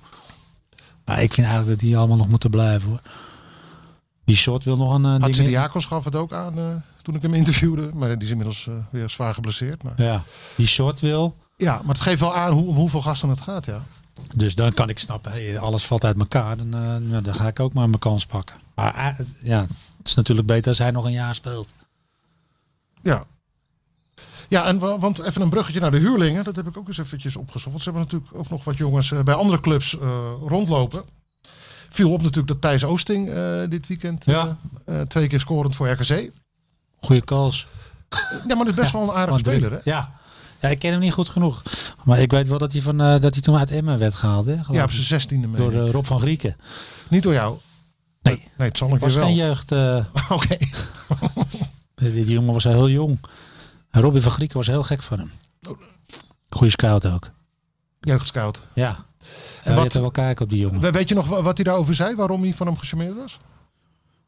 [SPEAKER 4] Maar ik vind eigenlijk dat die allemaal nog moeten blijven hoor. Die short wil nog een eh,
[SPEAKER 3] Had
[SPEAKER 4] ding in-
[SPEAKER 3] Diakos gaf het ook aan eh, toen ik hem interviewde. Maar die is inmiddels eh, weer zwaar geblesseerd. Maar...
[SPEAKER 4] Ja, die short wil.
[SPEAKER 3] Ja, maar het geeft wel aan hoe, om hoeveel gasten het gaat. Ja.
[SPEAKER 4] Dus dan kan ik snappen, hey, alles valt uit elkaar. Dan, eh, nou, dan ga ik ook maar mijn kans pakken. Maar eh, ja, het is natuurlijk beter als hij nog een jaar speelt.
[SPEAKER 3] Ja. Ja, en wa- want even een bruggetje naar de huurlingen. Dat heb ik ook eens eventjes opgezocht. Want ze hebben natuurlijk ook nog wat jongens eh, bij andere clubs eh, rondlopen. Viel op natuurlijk dat Thijs Oosting eh, dit weekend
[SPEAKER 4] Ja.
[SPEAKER 3] eh, twee keer scorend voor RKC.
[SPEAKER 4] Goeie kans.
[SPEAKER 3] Ja, maar dat is best wel een aardige speler. Hè?
[SPEAKER 4] Ja. ja, ik ken hem niet goed genoeg. Maar ik weet wel dat hij, van, eh, dat hij toen uit Emmen werd gehaald. Hè, geloof
[SPEAKER 3] Ja, op
[SPEAKER 4] ik.
[SPEAKER 3] zijn zestiende mee.
[SPEAKER 4] Door eh, Rob van Grieken.
[SPEAKER 3] Niet door jou.
[SPEAKER 4] Nee.
[SPEAKER 3] Nee, het zal een keer
[SPEAKER 4] Was geen
[SPEAKER 3] wel.
[SPEAKER 4] jeugd... eh,
[SPEAKER 3] Oké.
[SPEAKER 4] Die die jongen was heel jong. En Robin van Grieken was heel gek van hem.
[SPEAKER 3] Oh.
[SPEAKER 4] Goeie scout ook.
[SPEAKER 3] Jeugdscout.
[SPEAKER 4] Ja.
[SPEAKER 3] En
[SPEAKER 4] En
[SPEAKER 3] wat-
[SPEAKER 4] wat wel kijken op die jongen.
[SPEAKER 3] We- Weet je nog wa- wat hij daarover zei? Waarom hij van hem gecharmeerd was?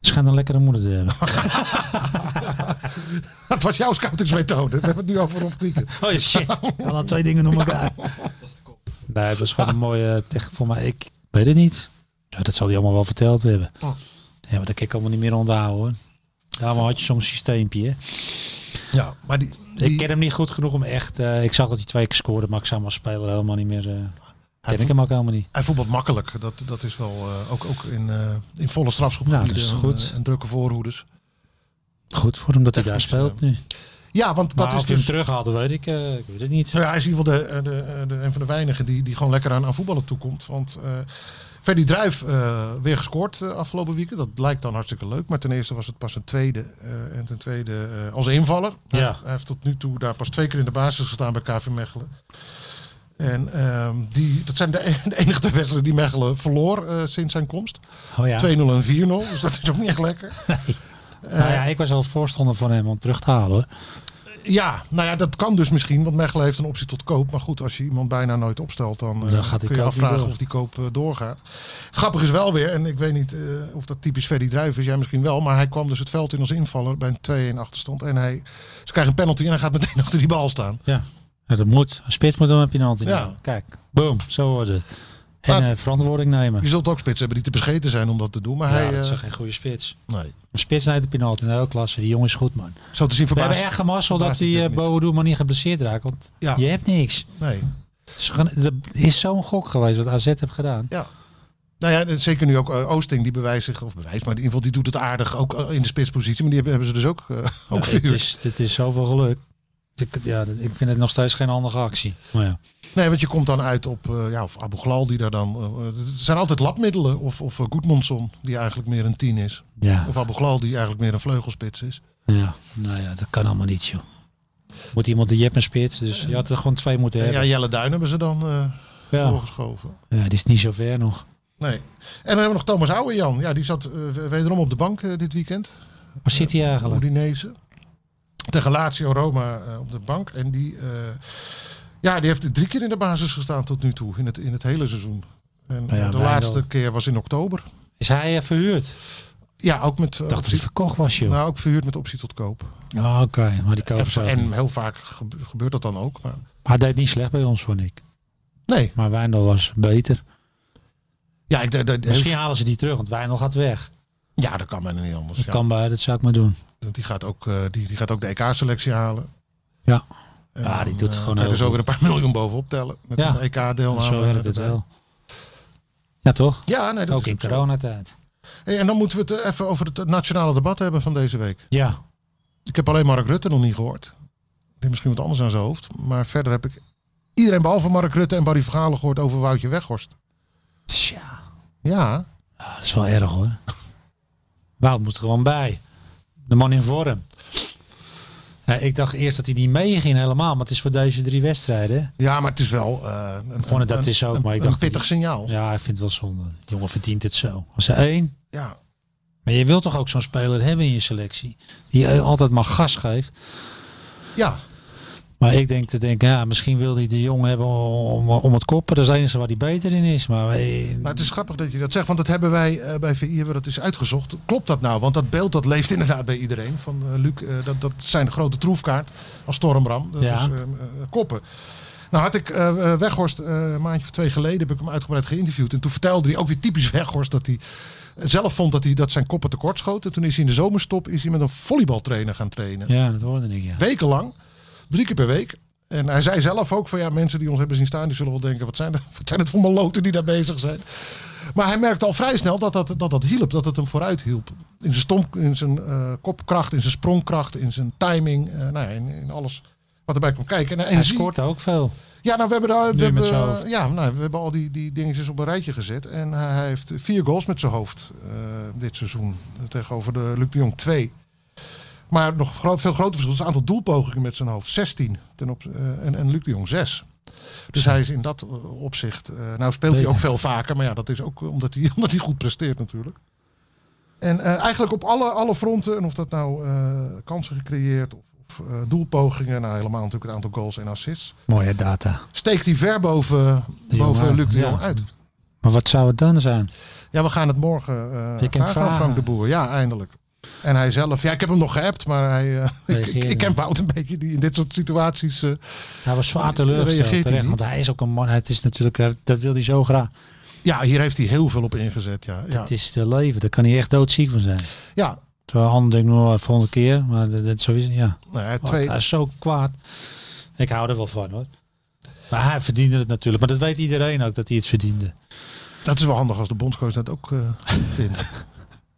[SPEAKER 4] Schijnt een lekkere moeder eh, te hebben.
[SPEAKER 3] Dat was jouw scoutingsmethode. We hebben het nu over ontwikkelen.
[SPEAKER 4] Oh shit. Dan twee dingen noemen elkaar. Nee, het was dus gewoon een mooie tech voor mij. Ik weet het niet. Ja, dat zal hij allemaal wel verteld hebben.
[SPEAKER 3] Oh.
[SPEAKER 4] Ja, maar dat kan ik allemaal niet meer onthouden hoor. Daarom had je soms systeempje. Hè?
[SPEAKER 3] Ja, maar die,
[SPEAKER 4] Ik
[SPEAKER 3] die-
[SPEAKER 4] ken hem niet goed genoeg om echt. eh, ik zag dat hij twee keer scoorde, maar ik zou hem als speler helemaal niet meer. eh ken ik
[SPEAKER 3] voelt-
[SPEAKER 4] hem ook helemaal niet.
[SPEAKER 3] hij voetbalt makkelijk. Dat, dat is wel eh, ook, ook in, eh, in volle strafschop.
[SPEAKER 4] Ja, Nou, dat is goed.
[SPEAKER 3] En, drukke voorhoeders.
[SPEAKER 4] Goed voor hem dat hij daar
[SPEAKER 3] Technisch,
[SPEAKER 4] speelt nu.
[SPEAKER 3] Ja, want dat
[SPEAKER 4] Maar
[SPEAKER 3] is
[SPEAKER 4] of we hem
[SPEAKER 3] dus...
[SPEAKER 4] terug hadden, weet ik, eh, ik weet het niet.
[SPEAKER 3] Nou ja, hij is in ieder geval de, de, eh, de, een van de weinigen die, die gewoon lekker aan, aan voetballen toekomt. Want eh Ferdy Druif eh, weer gescoord eh, afgelopen weekend. Dat lijkt dan hartstikke leuk. Maar ten eerste was het pas een tweede. eh, en ten tweede eh, als invaller. Hij,
[SPEAKER 4] Ja.
[SPEAKER 3] heeft, hij heeft tot nu toe daar pas twee keer in de basis gestaan bij KV Mechelen. En ehm, die, dat zijn de, e- de enige twee wedstrijden die Mechelen verloor eh, sinds zijn komst.
[SPEAKER 4] Oh ja.
[SPEAKER 3] 2-0 en 4-0. Dus dat is ook niet echt lekker.
[SPEAKER 4] nou ja, ik was al voorstander van hem om terug te halen. Hoor.
[SPEAKER 3] Ja, nou ja, dat kan dus misschien, want Mechelen heeft een optie tot koop. Maar goed, als je iemand bijna nooit opstelt, dan, eh,
[SPEAKER 4] Dan gaat die
[SPEAKER 3] kun je
[SPEAKER 4] koop niet
[SPEAKER 3] afvragen
[SPEAKER 4] door.
[SPEAKER 3] of die koop eh, doorgaat. Grappig is wel weer, en ik weet niet eh, of dat typisch Ferdy Druijf is, jij misschien wel, maar hij kwam dus het veld in als invaller bij een 2-1 achterstand. En hij, ze krijgen een penalty en hij gaat meteen achter die bal staan.
[SPEAKER 4] Ja. dat moet. Een spits moet dan heb je een hand in. de
[SPEAKER 3] Ja.
[SPEAKER 4] hand. Kijk, boom, zo wordt het. En
[SPEAKER 3] Maar-
[SPEAKER 4] eh, verantwoording nemen.
[SPEAKER 3] Je zult ook spits hebben die te bescheten zijn om dat te doen, maar
[SPEAKER 4] Ja,
[SPEAKER 3] hij...
[SPEAKER 4] dat is
[SPEAKER 3] eh,
[SPEAKER 4] toch geen goede spits.
[SPEAKER 3] nee.
[SPEAKER 4] Een spits naar de penalty in de hele klasse. Die jongen is goed, man.
[SPEAKER 3] Zo te zien
[SPEAKER 4] We hebben
[SPEAKER 3] verbaasd.
[SPEAKER 4] echt gemasseld dat
[SPEAKER 3] verbaast ik
[SPEAKER 4] die
[SPEAKER 3] het
[SPEAKER 4] eh
[SPEAKER 3] niet.
[SPEAKER 4] Bodo maar niet geblesseerd raakt. Want
[SPEAKER 3] Ja.
[SPEAKER 4] je hebt niks.
[SPEAKER 3] Nee.
[SPEAKER 4] Het is gewoon- Er is zo'n gok geweest wat AZ heeft gedaan.
[SPEAKER 3] Ja. Nou ja, en zeker nu ook eh, Oosting, die bewijst zich, of bewijst, maar in ieder geval die doet het aardig, ook eh, in de spitspositie. Maar die hebben, hebben ze dus ook, eh ook
[SPEAKER 4] Ja, het,
[SPEAKER 3] verhuurd.
[SPEAKER 4] is, het is zoveel geluk. Ik, ja, ik vind het nog steeds geen handige actie. Maar ja.
[SPEAKER 3] Nee, want je komt dan uit op eh, ja, of Abu Ghlal die daar dan... eh, eh, het zijn altijd labmiddelen. Of, of eh, Goedmondsson, die eigenlijk meer een tien is.
[SPEAKER 4] Ja.
[SPEAKER 3] Of Abu Ghlal, die eigenlijk meer een vleugelspits is.
[SPEAKER 4] Ja, nou ja, dat kan allemaal niet, joh. Moet iemand de Jep en spits. Dus je had er gewoon twee moeten
[SPEAKER 3] Ja,
[SPEAKER 4] hebben.
[SPEAKER 3] Jelle Duin hebben ze dan eh
[SPEAKER 4] Ja.
[SPEAKER 3] doorgeschoven.
[SPEAKER 4] ja, die is niet zo ver nog.
[SPEAKER 3] Nee. En dan hebben we nog Thomas Ouwejan. Ja, die zat eh, wederom op de bank eh, dit weekend.
[SPEAKER 4] Waar zit hij eigenlijk?
[SPEAKER 3] Udinese. Tegen Lazio Roma eh, op de bank. En die, eh, ja, die heeft drie keer in de basis gestaan tot nu toe. In het, in het hele seizoen. En eh,
[SPEAKER 4] Nou ja,
[SPEAKER 3] de
[SPEAKER 4] Wijndal.
[SPEAKER 3] laatste keer was in oktober.
[SPEAKER 4] Is hij eh, verhuurd?
[SPEAKER 3] Ja, ook met eh,
[SPEAKER 4] Ik dacht dat hij
[SPEAKER 3] optie,
[SPEAKER 4] verkocht was, joh.
[SPEAKER 3] nou, ook verhuurd met optie tot koop.
[SPEAKER 4] Ah, Oké, maar die koop zo.
[SPEAKER 3] En heel vaak gebe- gebeurt dat dan ook. Maar
[SPEAKER 4] Hij deed niet slecht bij ons, vond ik.
[SPEAKER 3] nee,
[SPEAKER 4] Maar Wijndal was beter.
[SPEAKER 3] Dus- ja, ik, de, de- de-
[SPEAKER 4] Misschien halen ze die terug, want Wijndal gaat weg.
[SPEAKER 3] ja, dat kan bijna niet anders.
[SPEAKER 4] Dat
[SPEAKER 3] Ja.
[SPEAKER 4] kan bij, dat zou ik maar doen.
[SPEAKER 3] Want Die, gaat ook, eh, die, die gaat ook de EK-selectie halen.
[SPEAKER 4] Ja,
[SPEAKER 3] En
[SPEAKER 4] Ja, Ah, die doet het
[SPEAKER 3] eh,
[SPEAKER 4] gewoon
[SPEAKER 3] kan je
[SPEAKER 4] heel
[SPEAKER 3] dus ook
[SPEAKER 4] goed.
[SPEAKER 3] weer een paar miljoen bovenop tellen. Met
[SPEAKER 4] Ja,
[SPEAKER 3] een E EK-deelname.
[SPEAKER 4] zo werkt het
[SPEAKER 3] erbij.
[SPEAKER 4] wel. Ja, toch?
[SPEAKER 3] eh, Ja, nee, dat
[SPEAKER 4] ook
[SPEAKER 3] is
[SPEAKER 4] in
[SPEAKER 3] ook zo.
[SPEAKER 4] coronatijd.
[SPEAKER 3] Hey, en dan moeten we het eh, even over het nationale debat hebben van deze week.
[SPEAKER 4] Ja,
[SPEAKER 3] Ik heb alleen Mark Rutte nog niet gehoord. Die heeft misschien wat anders aan zijn hoofd. Maar verder heb ik iedereen behalve Mark Rutte en Barry Vergalen gehoord over Woutje Weghorst.
[SPEAKER 4] Tja,
[SPEAKER 3] Ja,
[SPEAKER 4] ah, dat is wel erg hoor. Wout moet er gewoon bij. De man in vorm. Ja, ik dacht eerst dat hij niet meeging helemaal, maar het is voor deze drie wedstrijden.
[SPEAKER 3] ja maar het is wel eh een,
[SPEAKER 4] vond het dat
[SPEAKER 3] een-
[SPEAKER 4] is ook,
[SPEAKER 3] een-
[SPEAKER 4] maar ik
[SPEAKER 3] een
[SPEAKER 4] dacht-
[SPEAKER 3] pittig signaal. Ja.
[SPEAKER 4] Ja, ik vind het wel zonde. De jongen verdient het zo. Als er één.
[SPEAKER 3] Ja.
[SPEAKER 4] Maar je wilt toch ook zo'n speler hebben in je selectie. Die eh, altijd maar gas geeft. Maar ik denk te denken, ja, misschien wil hij de jongen hebben om, om het koppen. Dat is het enige waar hij beter in is. Maar eh,
[SPEAKER 3] maar het is grappig dat je dat zegt, want dat hebben wij eh, bij VI hebben we dat eens uitgezocht. Klopt dat nou? Want dat beeld dat leeft inderdaad bij iedereen. Van eh, Luc, eh, dat, dat zijn grote troefkaart als Stormram. Dat
[SPEAKER 4] Ja.
[SPEAKER 3] is eh, eh, koppen. Nou had ik eh, eh, Weghorst eh, een maandje of twee geleden heb ik hem uitgebreid geïnterviewd. En toen vertelde hij ook weer typisch Weghorst dat hij eh, zelf vond dat hij dat zijn koppen tekort schoten. Toen is hij in de zomerstop is hij met een volleybaltrainer gaan trainen.
[SPEAKER 4] ja, dat hoorde ik ja.
[SPEAKER 3] Wekenlang. Drie keer per week. En hij zei zelf ook van ja, mensen die ons hebben zien staan, die zullen wel denken, wat zijn, er, wat zijn het voor maloten die daar bezig zijn. Maar hij merkte al vrij snel dat dat, dat, dat hielp, dat het hem vooruit hielp. In zijn, stom, in zijn eh, kopkracht, in zijn sprongkracht, in zijn timing, eh, nou ja, in, in alles wat erbij komt kijken. En, en
[SPEAKER 4] Hij
[SPEAKER 3] zie-
[SPEAKER 4] scoort ook veel.
[SPEAKER 3] ja, nou, we hebben, daar, we
[SPEAKER 4] Nu
[SPEAKER 3] hebben,
[SPEAKER 4] met zijn hoofd.
[SPEAKER 3] eh, Ja, nou, we hebben al die, die dingetjes op een rijtje gezet. En hij heeft vier goals met zijn hoofd eh, dit seizoen. Tegenover de Luc de Jong twee. Maar nog gro- veel groter verschil is het aantal doelpogingen met zijn hoofd. 16 ten op, eh, en, en Luc de Jong 6. Dus hij is in dat eh, opzicht... eh, nou speelt hij
[SPEAKER 4] Beter.
[SPEAKER 3] ook veel vaker. Maar ja, dat is ook omdat hij, omdat hij goed presteert natuurlijk. En eh, eigenlijk op alle, alle fronten, en of dat nou eh, kansen gecreëerd of, of eh, doelpogingen, nou helemaal natuurlijk het aantal goals en assists
[SPEAKER 4] Mooie data.
[SPEAKER 3] steekt hij ver boven,
[SPEAKER 4] De
[SPEAKER 3] boven
[SPEAKER 4] jongen,
[SPEAKER 3] Luc de
[SPEAKER 4] ja.
[SPEAKER 3] Jong uit.
[SPEAKER 4] Maar wat zou het dan zijn?
[SPEAKER 3] Ja, we gaan het morgen eh
[SPEAKER 4] Je kent
[SPEAKER 3] vragen aan
[SPEAKER 4] vragen.
[SPEAKER 3] Frank de Boer. Ja, eindelijk. En hij zelf. Ja, ik heb hem nog geappt, maar hij, eh, ik, ik,
[SPEAKER 4] Reageerde
[SPEAKER 3] ik ken
[SPEAKER 4] niet.
[SPEAKER 3] Wout een beetje die in dit soort situaties... eh,
[SPEAKER 4] Hij was zwaar
[SPEAKER 3] Reageert hij
[SPEAKER 4] teleurgesteld terecht,
[SPEAKER 3] niet?
[SPEAKER 4] want hij is ook een man. Het is natuurlijk, dat- dat wil hij zo graag.
[SPEAKER 3] ja, hier heeft hij heel veel op ingezet. Ja, ja.
[SPEAKER 4] Het is te leven, daar kan hij echt doodziek van zijn.
[SPEAKER 3] ja.
[SPEAKER 4] Terwijl anderen denken, nou, de volgende keer, maar dat, dat sowieso, ja.
[SPEAKER 3] Nou, hij heeft
[SPEAKER 4] Want
[SPEAKER 3] twee,
[SPEAKER 4] Hij is zo kwaad. Ik hou er wel van hoor. Maar hij verdiende het natuurlijk, maar dat weet iedereen ook dat hij het verdiende. eh,
[SPEAKER 3] dat is wel handig als de bondscoach dat ook eh, vindt.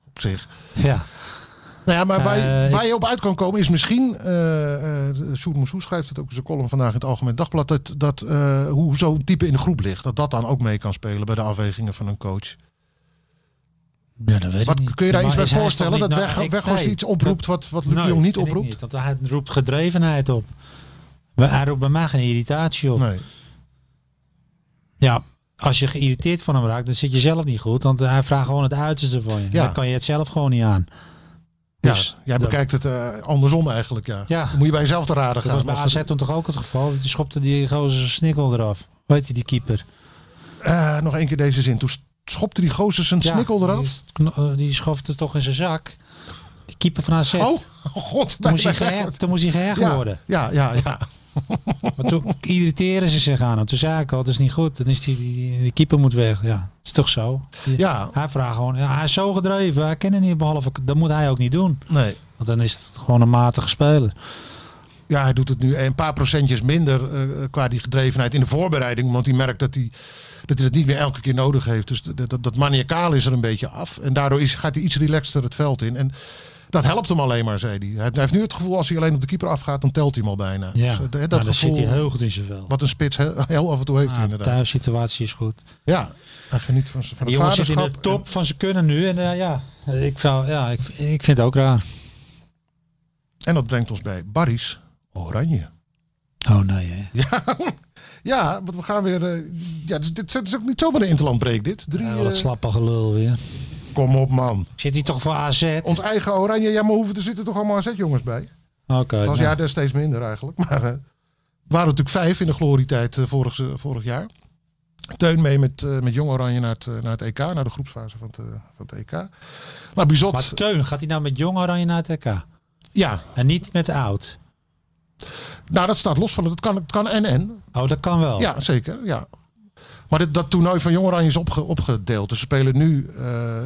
[SPEAKER 3] op zich.
[SPEAKER 4] Ja,
[SPEAKER 3] Nou ja, maar waar, je-
[SPEAKER 4] Eh,
[SPEAKER 3] waar je op uit kan komen is misschien, eh eh Sjoerd Moussou schrijft het ook in zijn column vandaag in het Algemeen Dagblad, dat, dat eh, hoe zo'n type in de groep ligt, dat dat dan ook mee kan spelen bij de afwegingen van een coach.
[SPEAKER 4] ja dat weet
[SPEAKER 3] Wat,
[SPEAKER 4] ik niet.
[SPEAKER 3] kun je daar
[SPEAKER 4] Maar
[SPEAKER 3] iets bij
[SPEAKER 4] is hij
[SPEAKER 3] voorstellen?
[SPEAKER 4] toch
[SPEAKER 3] Dat
[SPEAKER 4] niet-
[SPEAKER 3] weg,
[SPEAKER 4] nou, ik-
[SPEAKER 3] Weghorst
[SPEAKER 4] nee.
[SPEAKER 3] iets oproept wat, wat Luc de
[SPEAKER 4] Nee,
[SPEAKER 3] Jong niet
[SPEAKER 4] vind ik
[SPEAKER 3] oproept?
[SPEAKER 4] want hij roept gedrevenheid op. Maar Hij roept bij mij geen irritatie op.
[SPEAKER 3] Nee.
[SPEAKER 4] Ja, als je geïrriteerd van hem raakt, dan zit je zelf niet goed. Want hij vraagt gewoon het uiterste van je.
[SPEAKER 3] Ja.
[SPEAKER 4] Dan kan je het zelf gewoon niet aan. Dus
[SPEAKER 3] ja, jij
[SPEAKER 4] dat-
[SPEAKER 3] bekijkt het eh, andersom eigenlijk, ja.
[SPEAKER 4] Ja.
[SPEAKER 3] Dan Moet je bij jezelf te raden
[SPEAKER 4] Dat
[SPEAKER 3] gaan.
[SPEAKER 4] was bij
[SPEAKER 3] Of-
[SPEAKER 4] AZ toen toch ook het geval. Die schopte die gozer zijn snikkel eraf. Weet je, die keeper.
[SPEAKER 3] Eh, nog één keer deze zin. Toen schopte die gozer zijn
[SPEAKER 4] Ja,
[SPEAKER 3] snikkel eraf.
[SPEAKER 4] Die, kno- eh, die schopte toch in zijn zak. Die keeper van AZ.
[SPEAKER 3] Oh, oh god.
[SPEAKER 4] Toen moest,
[SPEAKER 3] bij-
[SPEAKER 4] hij
[SPEAKER 3] bij
[SPEAKER 4] gehecht, toen moest hij gehecht
[SPEAKER 3] ja,
[SPEAKER 4] worden.
[SPEAKER 3] ja, ja, ja.
[SPEAKER 4] Maar toen irriteren ze zich aan hem. Toen zei ik al, dat is niet goed. Dan is die, die, die keeper moet weg. Ja, dat is toch zo? Die-
[SPEAKER 3] Ja,
[SPEAKER 4] Hij vraagt gewoon, ja, hij is zo gedreven. Hij kent het niet behalve, dat moet hij ook niet doen.
[SPEAKER 3] nee.
[SPEAKER 4] Want dan is het gewoon een matige speler.
[SPEAKER 3] Ja, hij doet het nu een paar procentjes minder eh, qua die gedrevenheid in de voorbereiding. Want hij merkt dat hij dat, hij dat niet meer elke keer nodig heeft. Dus dat, dat, dat maniacaal is er een beetje af. En daardoor is, gaat hij iets relaxter het veld in. En dat helpt hem alleen maar, zei hij. Hij hij heeft nu het gevoel als hij alleen op de keeper afgaat, dan telt hij hem al bijna.
[SPEAKER 4] Ja,
[SPEAKER 3] Dus, eh, dat
[SPEAKER 4] Nou, dan
[SPEAKER 3] gevoel,
[SPEAKER 4] zit hij heel goed in zijn vel.
[SPEAKER 3] wat een spits heel, heel af en toe heeft hij
[SPEAKER 4] Ah, de
[SPEAKER 3] inderdaad.
[SPEAKER 4] thuissituatie is goed.
[SPEAKER 3] Ja, hij geniet van, zijn- van
[SPEAKER 4] Die
[SPEAKER 3] het
[SPEAKER 4] jongen zit in
[SPEAKER 3] vaderschap.
[SPEAKER 4] de top van zijn kunnen nu. En eh, ja, eh, ik, zou, ja ik, ik vind het ook raar.
[SPEAKER 3] En, en dat brengt ons bij Barry's Oranje.
[SPEAKER 4] Oh nee, hè.
[SPEAKER 3] Ja, want we gaan weer. eh, ja, dus dit, dit is ook niet zomaar een interlandbreek, dit. Drie,
[SPEAKER 4] Ja, wat
[SPEAKER 3] eh,
[SPEAKER 4] slappe gelul weer.
[SPEAKER 3] kom op, man.
[SPEAKER 4] Ik zit hier toch voor AZ? Oké.
[SPEAKER 3] Ons eigen Oranje. Ja, maar hoeveel er zitten toch allemaal AZ-jongens bij? Het was
[SPEAKER 4] nou.
[SPEAKER 3] ja daar steeds minder eigenlijk. Maar eh, er waren natuurlijk vijf in de glorietijd eh, vorig, se- vorig jaar. Teun mee met, eh, met Jong Oranje naar het, eh, naar het EK, naar de groepsfase van het, eh, van het EK. Nou, Bizot,
[SPEAKER 4] Maar Teun, gaat hij nou met jong oranje naar het EK?
[SPEAKER 3] ja,
[SPEAKER 4] En niet met oud?
[SPEAKER 3] nou dat staat los van het. Het kan, het kan en en.
[SPEAKER 4] Oh, dat kan wel.
[SPEAKER 3] Ja, zeker. Ja. Maar dit, dat toernooi van Jong Oranje is opge- opgedeeld. Dus ze spelen nu eh,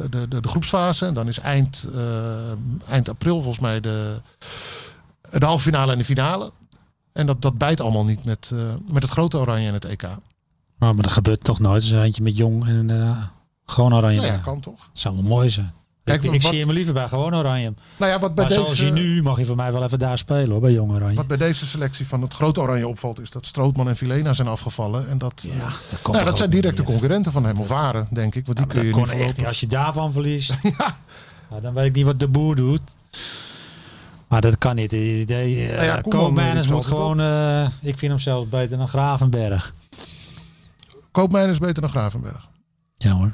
[SPEAKER 3] de, de, de groepsfase. En dan is eind, eh, eind april volgens mij de, de halve finale en de finale. En dat, dat bijt allemaal niet met, eh, met het grote Oranje en het EK.
[SPEAKER 4] Oh, maar dat gebeurt toch nooit. Dus een eindje met jong en eh, gewoon oranje.
[SPEAKER 3] Nou ja,
[SPEAKER 4] daar.
[SPEAKER 3] kan toch?
[SPEAKER 4] Dat zou wel mooi zijn.
[SPEAKER 3] Kijk,
[SPEAKER 4] ik ik
[SPEAKER 3] wat-
[SPEAKER 4] zie hem liever bij gewoon oranje.
[SPEAKER 3] Nou ja, wat bij,
[SPEAKER 4] Maar zoals
[SPEAKER 3] deze,
[SPEAKER 4] hij nu mag hij voor mij wel even daar spelen hoor, bij jong oranje.
[SPEAKER 3] wat bij deze selectie van het grote Oranje opvalt, is dat Strootman en Vilena zijn afgevallen. En dat, eh,
[SPEAKER 4] Ja, dat, kan
[SPEAKER 3] nou,
[SPEAKER 4] toch ook
[SPEAKER 3] dat zijn directe
[SPEAKER 4] niet, hè?
[SPEAKER 3] concurrenten van hem, of waren, denk ik. Want die
[SPEAKER 4] Maar
[SPEAKER 3] kun
[SPEAKER 4] dat
[SPEAKER 3] je
[SPEAKER 4] kon
[SPEAKER 3] niet
[SPEAKER 4] echt niet.
[SPEAKER 3] verlopen.
[SPEAKER 4] Als je daarvan verliest, nou, dan weet ik niet wat de boer doet. Maar dat kan niet. De, de, eh,
[SPEAKER 3] Nou ja, Koeman
[SPEAKER 4] Koopmeiners
[SPEAKER 3] doet het
[SPEAKER 4] moet
[SPEAKER 3] altijd
[SPEAKER 4] gewoon. eh, ik vind hem zelfs beter dan Gravenberg.
[SPEAKER 3] Koopmijn is beter dan Gravenberg.
[SPEAKER 4] Ja hoor.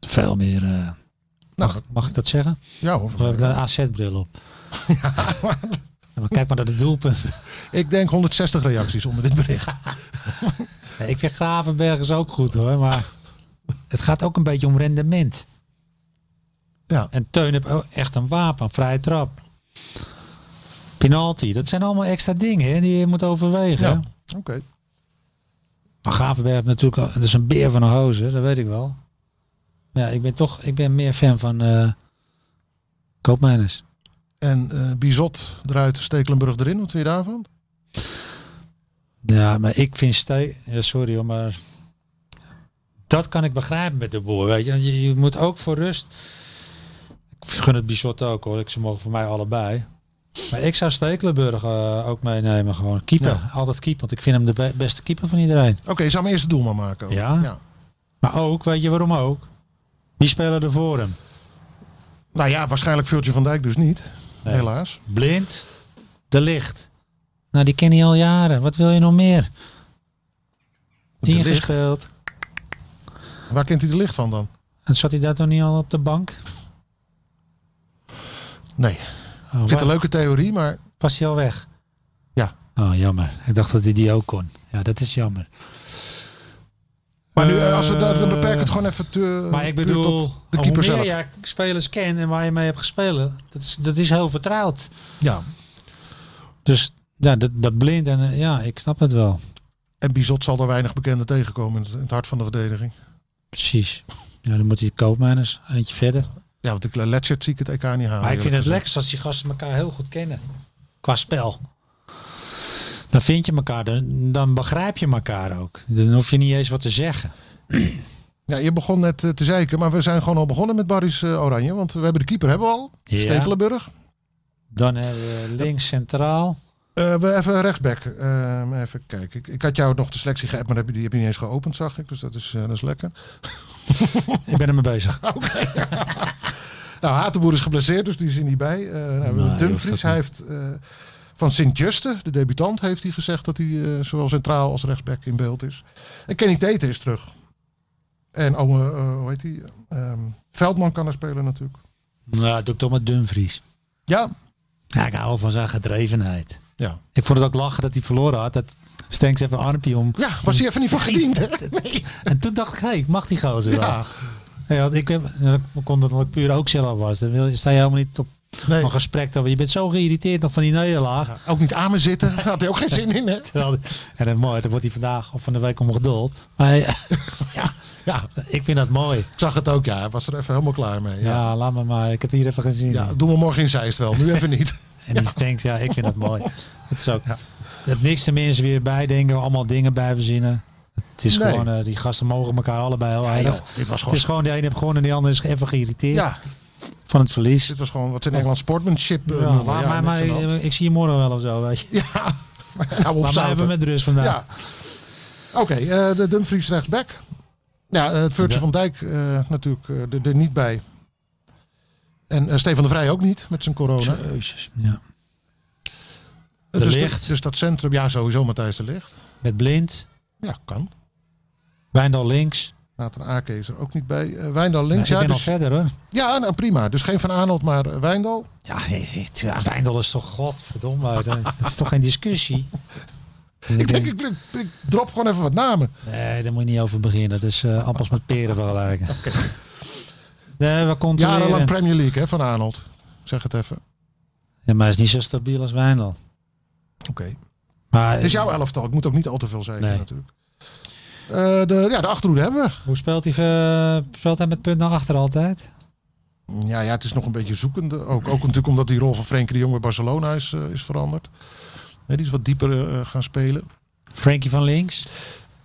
[SPEAKER 4] Veel meer. eh,
[SPEAKER 3] Nou,
[SPEAKER 4] mag, mag ik dat zeggen?
[SPEAKER 3] ja, hoor.
[SPEAKER 4] Of heb ik een AZ-bril op? Ja, maar kijk maar naar de doelpunt.
[SPEAKER 3] ik denk 160 reacties onder dit bericht.
[SPEAKER 4] Nee, ik vind Gravenberg is ook goed hoor, maar het gaat ook een beetje om rendement.
[SPEAKER 3] Ja.
[SPEAKER 4] En Teun heeft ook echt een wapen, een vrije trap. Penalty, dat zijn allemaal extra dingen hè, die je moet overwegen.
[SPEAKER 3] Ja. Oké.
[SPEAKER 4] Maar Gravenberg heeft natuurlijk, al- dat is een beer van een hozer, dat weet ik wel. Maar ja, ik ben toch, ik ben meer fan van eh Koopmeiners.
[SPEAKER 3] En eh, Bizot eruit, Stekelenburg erin. Wat vind je daarvan?
[SPEAKER 4] Ja, maar ik vind Ste ja, sorry hoor, maar dat kan ik begrijpen met de boer, weet je. Want je, je moet ook voor rust, ik gun het Bizot ook hoor, ik, ze mogen voor mij allebei. Maar ik zou Stekelenburg eh, ook meenemen gewoon. Keeper, altijd keeper, want ik vind hem de be- beste keeper van iedereen.
[SPEAKER 3] Oké, je zou hem eerst het doel maar maken. ook.
[SPEAKER 4] Ja? Maar ook, weet je waarom ook? Die spelen er voor hem.
[SPEAKER 3] Nou ja, waarschijnlijk Viltje van Dijk dus niet.
[SPEAKER 4] Nee.
[SPEAKER 3] Helaas.
[SPEAKER 4] Blind, de licht. Nou, die ken je al jaren. Wat wil je nog meer?
[SPEAKER 3] De Ligt.
[SPEAKER 4] Ingespeeld.
[SPEAKER 3] Waar kent hij de licht van dan?
[SPEAKER 4] En zat hij daar toch niet al op de bank?
[SPEAKER 3] Nee.
[SPEAKER 4] Oh,
[SPEAKER 3] Ik vind het
[SPEAKER 4] waar-
[SPEAKER 3] een leuke theorie, maar
[SPEAKER 4] Was hij al weg?
[SPEAKER 3] Ja.
[SPEAKER 4] Oh, jammer. Ik dacht dat hij die ook kon. Ja, dat is jammer.
[SPEAKER 3] Maar nu,
[SPEAKER 4] Eh,
[SPEAKER 3] als we dat, dan beperken we het gewoon even te,
[SPEAKER 4] Maar ik
[SPEAKER 3] Eh, puur
[SPEAKER 4] bedoel,
[SPEAKER 3] tot de keeper
[SPEAKER 4] hoe
[SPEAKER 3] zelf.
[SPEAKER 4] meer jij spelers kent en waar je mee hebt gespeeld, dat is, dat is heel vertrouwd.
[SPEAKER 3] Ja.
[SPEAKER 4] Dus ja, dat, dat blind en eh, ja, ik snap het wel.
[SPEAKER 3] En Bizot zal er weinig bekenden tegenkomen in het, in het hart van de verdediging.
[SPEAKER 4] Precies. Ja, dan moet hij koopmijners eentje verder.
[SPEAKER 3] Ja, want ik Letchert zie ik het EK niet halen.
[SPEAKER 4] Maar ik vind
[SPEAKER 3] eerlijk
[SPEAKER 4] het
[SPEAKER 3] gezegd.
[SPEAKER 4] lekker als die gasten elkaar heel goed kennen. Qua spel. Dan vind je elkaar, dan, dan begrijp je elkaar ook. Dan hoef je niet eens wat te zeggen.
[SPEAKER 3] Ja, je begon net eh, te zeiken, maar we zijn gewoon al begonnen met Barry's eh, Oranje. Want we hebben de keeper hebben we al,
[SPEAKER 4] Ja.
[SPEAKER 3] Stekelenburg.
[SPEAKER 4] Dan hebben we links centraal.
[SPEAKER 3] Eh, we even rechtsback. Eh, even kijken. Ik, ik had jou nog de selectie geappt, maar heb je, die heb je niet eens geopend, zag ik. Dus dat is, eh, dat is lekker.
[SPEAKER 4] Ik ben ermee bezig.
[SPEAKER 3] Nou, Hatenboer is geblesseerd, dus die is er niet bij. Eh, nou, we hebben
[SPEAKER 4] Nee, hoeft ook
[SPEAKER 3] Dumfries, hij heeft eh, van Sint-Juste, de debutant, heeft hij gezegd dat hij eh, zowel centraal als rechtsback in beeld is. En Kenny Tete is terug. En oh, eh, eh, hoe heet hij? Ehm, Veldman kan er spelen natuurlijk.
[SPEAKER 4] Nou, doe ik toch met Dumfries.
[SPEAKER 3] Ja.
[SPEAKER 4] Ja, ik hou wel van zijn gedrevenheid.
[SPEAKER 3] Ja.
[SPEAKER 4] Ik vond het ook lachen dat hij verloren had. Dat Stenks even een armpje om.
[SPEAKER 3] Ja, was hij even niet van gediend, hè?
[SPEAKER 4] En toen dacht ik, hé, ik mag die gozer wel.
[SPEAKER 3] Ja.
[SPEAKER 4] Ja, want ik, heb, ik kon dat ik puur ook zelf was. Dan wil, sta je helemaal niet op
[SPEAKER 3] Nee.
[SPEAKER 4] een gesprek over. Je bent zo geïrriteerd nog van die nederlaag.
[SPEAKER 3] Ja, Ook niet aan me zitten, daar had hij ook geen zin in, hè?
[SPEAKER 4] Terwijl, en dat is mooi, dan wordt hij vandaag of van de week om geduld. Maar hij- ja,
[SPEAKER 3] Ja,
[SPEAKER 4] ik vind dat mooi.
[SPEAKER 3] ik zag het ook, ja. Hij was er even helemaal klaar mee.
[SPEAKER 4] Ja,
[SPEAKER 3] Ja,
[SPEAKER 4] laat me maar. Ik heb hier even gezien.
[SPEAKER 3] ja doen we morgen in Zeist wel, nu even niet.
[SPEAKER 4] en die stinkt, ja, ik vind dat mooi. Het is ook. Je hebt niks te mensen weer bijdenken, allemaal dingen bij verzinnen. Het is
[SPEAKER 3] Nee.
[SPEAKER 4] gewoon, eh, die gasten mogen elkaar allebei heel
[SPEAKER 3] Ja,
[SPEAKER 4] heilig.
[SPEAKER 3] joh, dit was
[SPEAKER 4] het
[SPEAKER 3] gewoon...
[SPEAKER 4] is gewoon, de ene heeft gewonnen en de ander is even geïrriteerd
[SPEAKER 3] Ja,
[SPEAKER 4] van het verlies.
[SPEAKER 3] dit was gewoon wat ze in Engeland sportmanship eh,
[SPEAKER 4] Ja,
[SPEAKER 3] noemen.
[SPEAKER 4] laat
[SPEAKER 3] Ja,
[SPEAKER 4] mij
[SPEAKER 3] niks aan
[SPEAKER 4] maar,
[SPEAKER 3] de hand.
[SPEAKER 4] ik zie je morgen wel of zo, weet je.
[SPEAKER 3] Ja, nou op
[SPEAKER 4] Laat mij even
[SPEAKER 3] zaterdag.
[SPEAKER 4] met rust vandaag.
[SPEAKER 3] Ja. Oké, eh, de Dumfries rechtsback. Ja, eh, het Virgil
[SPEAKER 4] Ja.
[SPEAKER 3] van Dijk eh, natuurlijk eh, er, er niet bij. En eh, Stefan de Vrij ook niet met zijn corona.
[SPEAKER 4] Jezus, ja. De
[SPEAKER 3] dus,
[SPEAKER 4] Ligt.
[SPEAKER 3] dat- dus dat centrum, ja sowieso Matthijs de Ligt.
[SPEAKER 4] Met Blind.
[SPEAKER 3] Ja, kan.
[SPEAKER 4] Wijndal links.
[SPEAKER 3] Nathan Ake is er ook niet bij. Eh, Wijndal
[SPEAKER 4] Nou,
[SPEAKER 3] links.
[SPEAKER 4] ik ben
[SPEAKER 3] ja,
[SPEAKER 4] al
[SPEAKER 3] dus-
[SPEAKER 4] verder hoor.
[SPEAKER 3] ja, nou prima. Dus geen Van Arnold, maar eh, Wijndal.
[SPEAKER 4] Ja, he- he- ja, Wijndal is toch godverdomme. dat dat is toch geen discussie. Dus
[SPEAKER 3] Ik denk, ik, ik, ik drop gewoon even wat namen.
[SPEAKER 4] Nee, daar moet je niet over beginnen. Dat is eh, appels met peren vergelijken. Nee, we eh,
[SPEAKER 3] Jarenlang
[SPEAKER 4] controleren.
[SPEAKER 3] Premier League, hè, Van Arnold. Ik Zeg het even.
[SPEAKER 4] Ja, maar hij is niet zo stabiel als Wijndal.
[SPEAKER 3] Oké.
[SPEAKER 4] Maar
[SPEAKER 3] Het is jouw elftal. Ik moet ook niet al te veel zeggen
[SPEAKER 4] Eh, Nee.
[SPEAKER 3] natuurlijk. Eh, de, ja, de achterhoede hebben we.
[SPEAKER 4] hoe speelt hij, eh, speelt hij met punt naar achter altijd?
[SPEAKER 3] Ja, ja, het is nog een beetje zoekend. Ook, ook natuurlijk omdat die rol van Frenkie de Jong bij Barcelona is, eh, is veranderd. Nee, die is wat dieper eh, gaan spelen.
[SPEAKER 4] Frankie van links.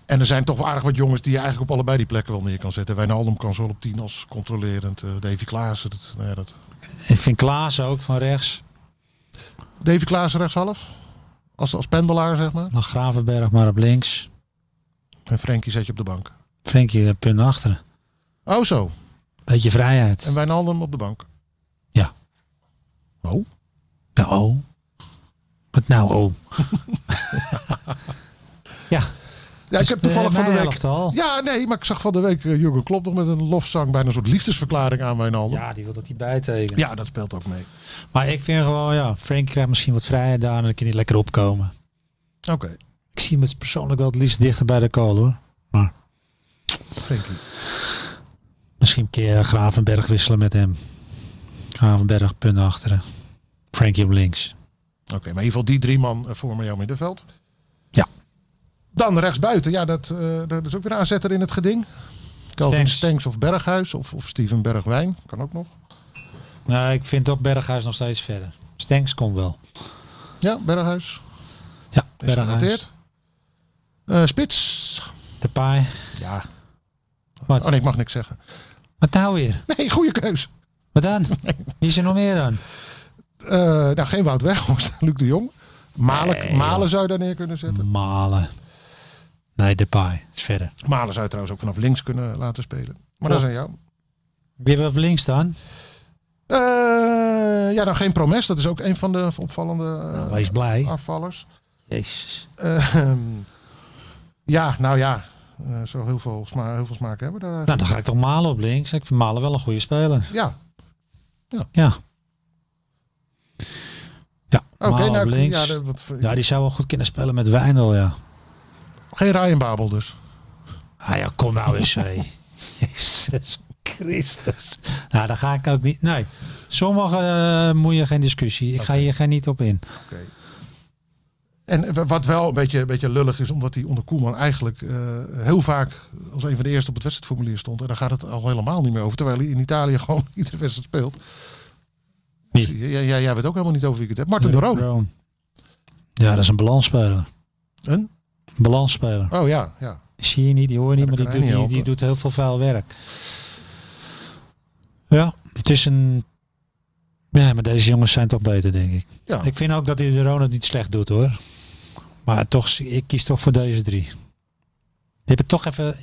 [SPEAKER 3] En er zijn toch wel aardig wat jongens die je eigenlijk op allebei die plekken wel neer kan zetten. Wijnaldum kan zowel op 10 als controlerend. eh, Davy Klaassen. Dat, nou ja, dat.
[SPEAKER 4] Ik vind Klaas ook van rechts.
[SPEAKER 3] Davy Klaassen rechtshalf. Als, als pendelaar, zeg maar.
[SPEAKER 4] Dan Gravenberg maar op links.
[SPEAKER 3] En Frenkie zet je op de bank.
[SPEAKER 4] Frenkie eh, punt naar achteren.
[SPEAKER 3] Oh zo.
[SPEAKER 4] Beetje vrijheid.
[SPEAKER 3] En Wijnaldum op de bank.
[SPEAKER 4] Ja.
[SPEAKER 3] Oh?
[SPEAKER 4] Nou, oh. Wat nou, oh. ja.
[SPEAKER 3] Ja,
[SPEAKER 4] Dus
[SPEAKER 3] ik heb
[SPEAKER 4] eh,
[SPEAKER 3] toevallig van de week...
[SPEAKER 4] Al.
[SPEAKER 3] Ja, nee, maar ik zag van de week eh, Jurgen Klopp nog met een lofzang... bijna een soort liefdesverklaring aan Wijnaldum. Ja,
[SPEAKER 4] Ja, die wil dat hij bijtekent.
[SPEAKER 3] dat speelt ook mee.
[SPEAKER 4] Maar ik vind gewoon, ja, Frank krijgt misschien wat vrijheid daar en dan kan hij lekker opkomen.
[SPEAKER 3] Oké,
[SPEAKER 4] Ik zie hem het persoonlijk wel het liefst dichter bij de kool hoor. Maar
[SPEAKER 3] Frenkie.
[SPEAKER 4] misschien een keer eh, Gravenberg wisselen met hem. Gravenberg, punt naar achteren. Frankie op links.
[SPEAKER 3] Oké, maar in ieder geval die drie man eh, vormen jouw middenveld.
[SPEAKER 4] Ja.
[SPEAKER 3] Dan rechtsbuiten. Ja, dat, eh, dat is ook weer een aanzetter in het geding. Calvin
[SPEAKER 4] Stengs.
[SPEAKER 3] Stenks of Berghuis of, of Steven Bergwijn. Kan ook nog.
[SPEAKER 4] Nou, ik vind ook Berghuis nog steeds verder. Stenks komt wel.
[SPEAKER 3] Ja, Berghuis.
[SPEAKER 4] Ja,
[SPEAKER 3] Is
[SPEAKER 4] Berghuis.
[SPEAKER 3] genoteerd. Eh, Spits.
[SPEAKER 4] De paai.
[SPEAKER 3] Ja.
[SPEAKER 4] Wat?
[SPEAKER 3] Oh nee, ik mag niks zeggen.
[SPEAKER 4] Wat nou weer?
[SPEAKER 3] Nee, goede keus.
[SPEAKER 4] Wat dan? Wie is er nog meer dan?
[SPEAKER 3] Eh, nou, geen Wout Weghorst, Luc de Jong. Malen, Malen zou je daar neer kunnen zetten.
[SPEAKER 4] Malen. Nee, de paai. Is verder.
[SPEAKER 3] Malen zou je trouwens ook vanaf links kunnen laten spelen. Maar dat is aan jou.
[SPEAKER 4] Wie hebben we op links dan?
[SPEAKER 3] Eh, ja, dan geen Promes. Dat is ook een van de opvallende eh,
[SPEAKER 4] Wees blij.
[SPEAKER 3] afvallers.
[SPEAKER 4] Nou, Jezus.
[SPEAKER 3] Eh, ja, nou ja. Eh, zo heel veel, sma heel veel smaak hebben we daar.
[SPEAKER 4] Nou,
[SPEAKER 3] eigenlijk.
[SPEAKER 4] dan ga ik toch Malen op links. Ik vind Malen wel een goede speler.
[SPEAKER 3] Ja,
[SPEAKER 4] Ja. Ja,
[SPEAKER 3] oké.
[SPEAKER 4] Malen
[SPEAKER 3] nou,
[SPEAKER 4] op links.
[SPEAKER 3] ja,
[SPEAKER 4] Ja,
[SPEAKER 3] dat- wat,
[SPEAKER 4] die zou wel goed kunnen spelen met Wijndal, ja.
[SPEAKER 3] Geen Ryan Babel dus.
[SPEAKER 4] Ah ja, kom nou eens, hé. Jezus Christus. Nou, daar ga ik ook niet... Nee, sommige eh, moet je geen discussie. Ik ga hier geen niet op in.
[SPEAKER 3] Oké. En w- wat wel een beetje, een beetje lullig is, omdat hij onder Koeman eigenlijk eh, heel vaak als een van de eerste op het wedstrijdformulier stond. En daar gaat het al helemaal niet meer over. Terwijl hij in Italië gewoon iedere wedstrijd speelt.
[SPEAKER 4] Wie?
[SPEAKER 3] Ja, ja, jij weet ook helemaal niet over wie ik het heb. Martin de Roon.
[SPEAKER 4] Brown. Ja, dat is een balansspeler.
[SPEAKER 3] Een?
[SPEAKER 4] Balansspeler.
[SPEAKER 3] Oh ja, ja.
[SPEAKER 4] Die zie je niet, die hoor je niet,
[SPEAKER 3] Ja,
[SPEAKER 4] maar
[SPEAKER 3] dat kan
[SPEAKER 4] die doet,
[SPEAKER 3] hij
[SPEAKER 4] die,
[SPEAKER 3] niet
[SPEAKER 4] die
[SPEAKER 3] helpen.
[SPEAKER 4] doet heel veel vuil werk. Ja, het is een... Ja, maar deze jongens zijn toch beter, denk ik.
[SPEAKER 3] Ja.
[SPEAKER 4] Ik vind ook dat hij de Ronald niet slecht doet, hoor. Maar toch, ik kies toch voor deze drie. Je hebt toch even...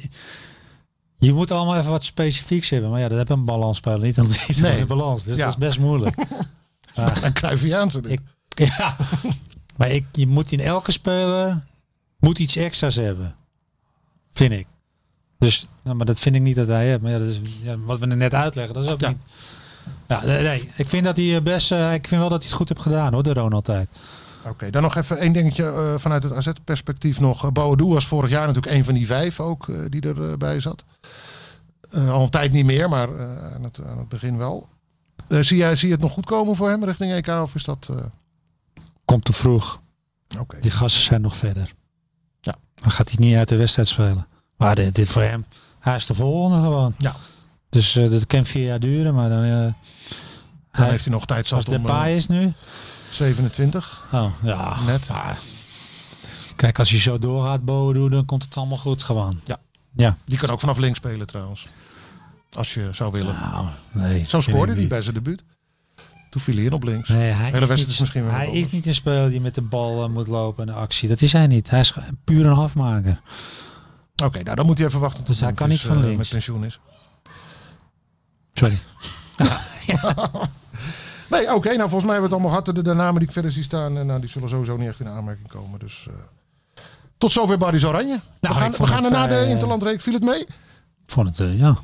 [SPEAKER 4] Je moet allemaal even wat specifieks hebben. Maar ja, dat heb een balansspeler niet. Want die is
[SPEAKER 3] Nee.
[SPEAKER 4] in de balans. Dus
[SPEAKER 3] Ja.
[SPEAKER 4] dat is best moeilijk.
[SPEAKER 3] Een Cruyffiaanse ding.
[SPEAKER 4] Ik- Ja, maar ik, je moet in elke speler moet iets extra's hebben, vind ik. Dus, nou, maar dat vind ik niet dat hij heeft. Maar ja, dat is, ja, wat we er net uitleggen, dat is ook
[SPEAKER 3] Ja.
[SPEAKER 4] niet. Ja, nee, nee, ik vind dat hij eh, best, eh, ik vind wel dat hij het goed heeft gedaan, hoor, de Ronald tijd.
[SPEAKER 3] Oké, dan nog even één dingetje eh, vanuit het AZ-perspectief nog. Eh, Boadu was vorig jaar natuurlijk een van die vijf ook eh, die erbij zat. Eh, al een tijd niet meer, maar eh, aan, het, aan het begin wel. Eh, zie, jij, zie je het nog goed komen voor hem richting EK of is dat... eh,
[SPEAKER 4] Komt te vroeg.
[SPEAKER 3] Oké.
[SPEAKER 4] Die gasten zijn nog verder.
[SPEAKER 3] Ja.
[SPEAKER 4] Dan gaat hij niet uit de wedstrijd spelen. Maar dit, dit voor hem, hij is de volgende gewoon.
[SPEAKER 3] Ja.
[SPEAKER 4] Dus eh, dat kan vier jaar duren, maar dan, eh,
[SPEAKER 3] Dan
[SPEAKER 4] hij-
[SPEAKER 3] heeft hij nog tijd
[SPEAKER 4] als
[SPEAKER 3] zat
[SPEAKER 4] de
[SPEAKER 3] om eh,
[SPEAKER 4] paai is nu.
[SPEAKER 3] 27.
[SPEAKER 4] Oh, ja.
[SPEAKER 3] Net.
[SPEAKER 4] Maar, kijk, als je zo doorgaat, Bodo, dan komt het allemaal goed gewoon.
[SPEAKER 3] Ja.
[SPEAKER 4] Ja.
[SPEAKER 3] Die kan ook vanaf links spelen trouwens. Als je zou willen.
[SPEAKER 4] Nou, nee.
[SPEAKER 3] Zo
[SPEAKER 4] vind
[SPEAKER 3] scoorde
[SPEAKER 4] ik
[SPEAKER 3] hij
[SPEAKER 4] niet.
[SPEAKER 3] bij zijn debuut. Toen viel hij in op links.
[SPEAKER 4] Nee, hij,
[SPEAKER 3] Hele
[SPEAKER 4] is
[SPEAKER 3] wedstrijd
[SPEAKER 4] niet,
[SPEAKER 3] is misschien wel
[SPEAKER 4] hij
[SPEAKER 3] wat
[SPEAKER 4] is
[SPEAKER 3] anders.
[SPEAKER 4] niet een speler die met de bal eh, moet lopen en de actie. Dat is hij niet. Hij is ge- puur een afmaker.
[SPEAKER 3] Oké, nou dan moet hij even wachten tot
[SPEAKER 4] Dus hij kan
[SPEAKER 3] Dumfries,
[SPEAKER 4] niet van
[SPEAKER 3] eh,
[SPEAKER 4] links.
[SPEAKER 3] met pensioen is.
[SPEAKER 4] Sorry.
[SPEAKER 3] Nee, Nee, oké. nou, volgens mij hebben we het allemaal gehad. De, de namen die ik verder zie staan, eh, nou, die zullen sowieso niet echt in aanmerking komen. Dus eh, tot zover Barry's Oranje.
[SPEAKER 4] Nou, ik
[SPEAKER 3] we gaan, we
[SPEAKER 4] vond
[SPEAKER 3] gaan
[SPEAKER 4] het,
[SPEAKER 3] daarna de
[SPEAKER 4] eh,
[SPEAKER 3] Interlandreek. Viel het mee?
[SPEAKER 4] Ik vond het, eh, ja.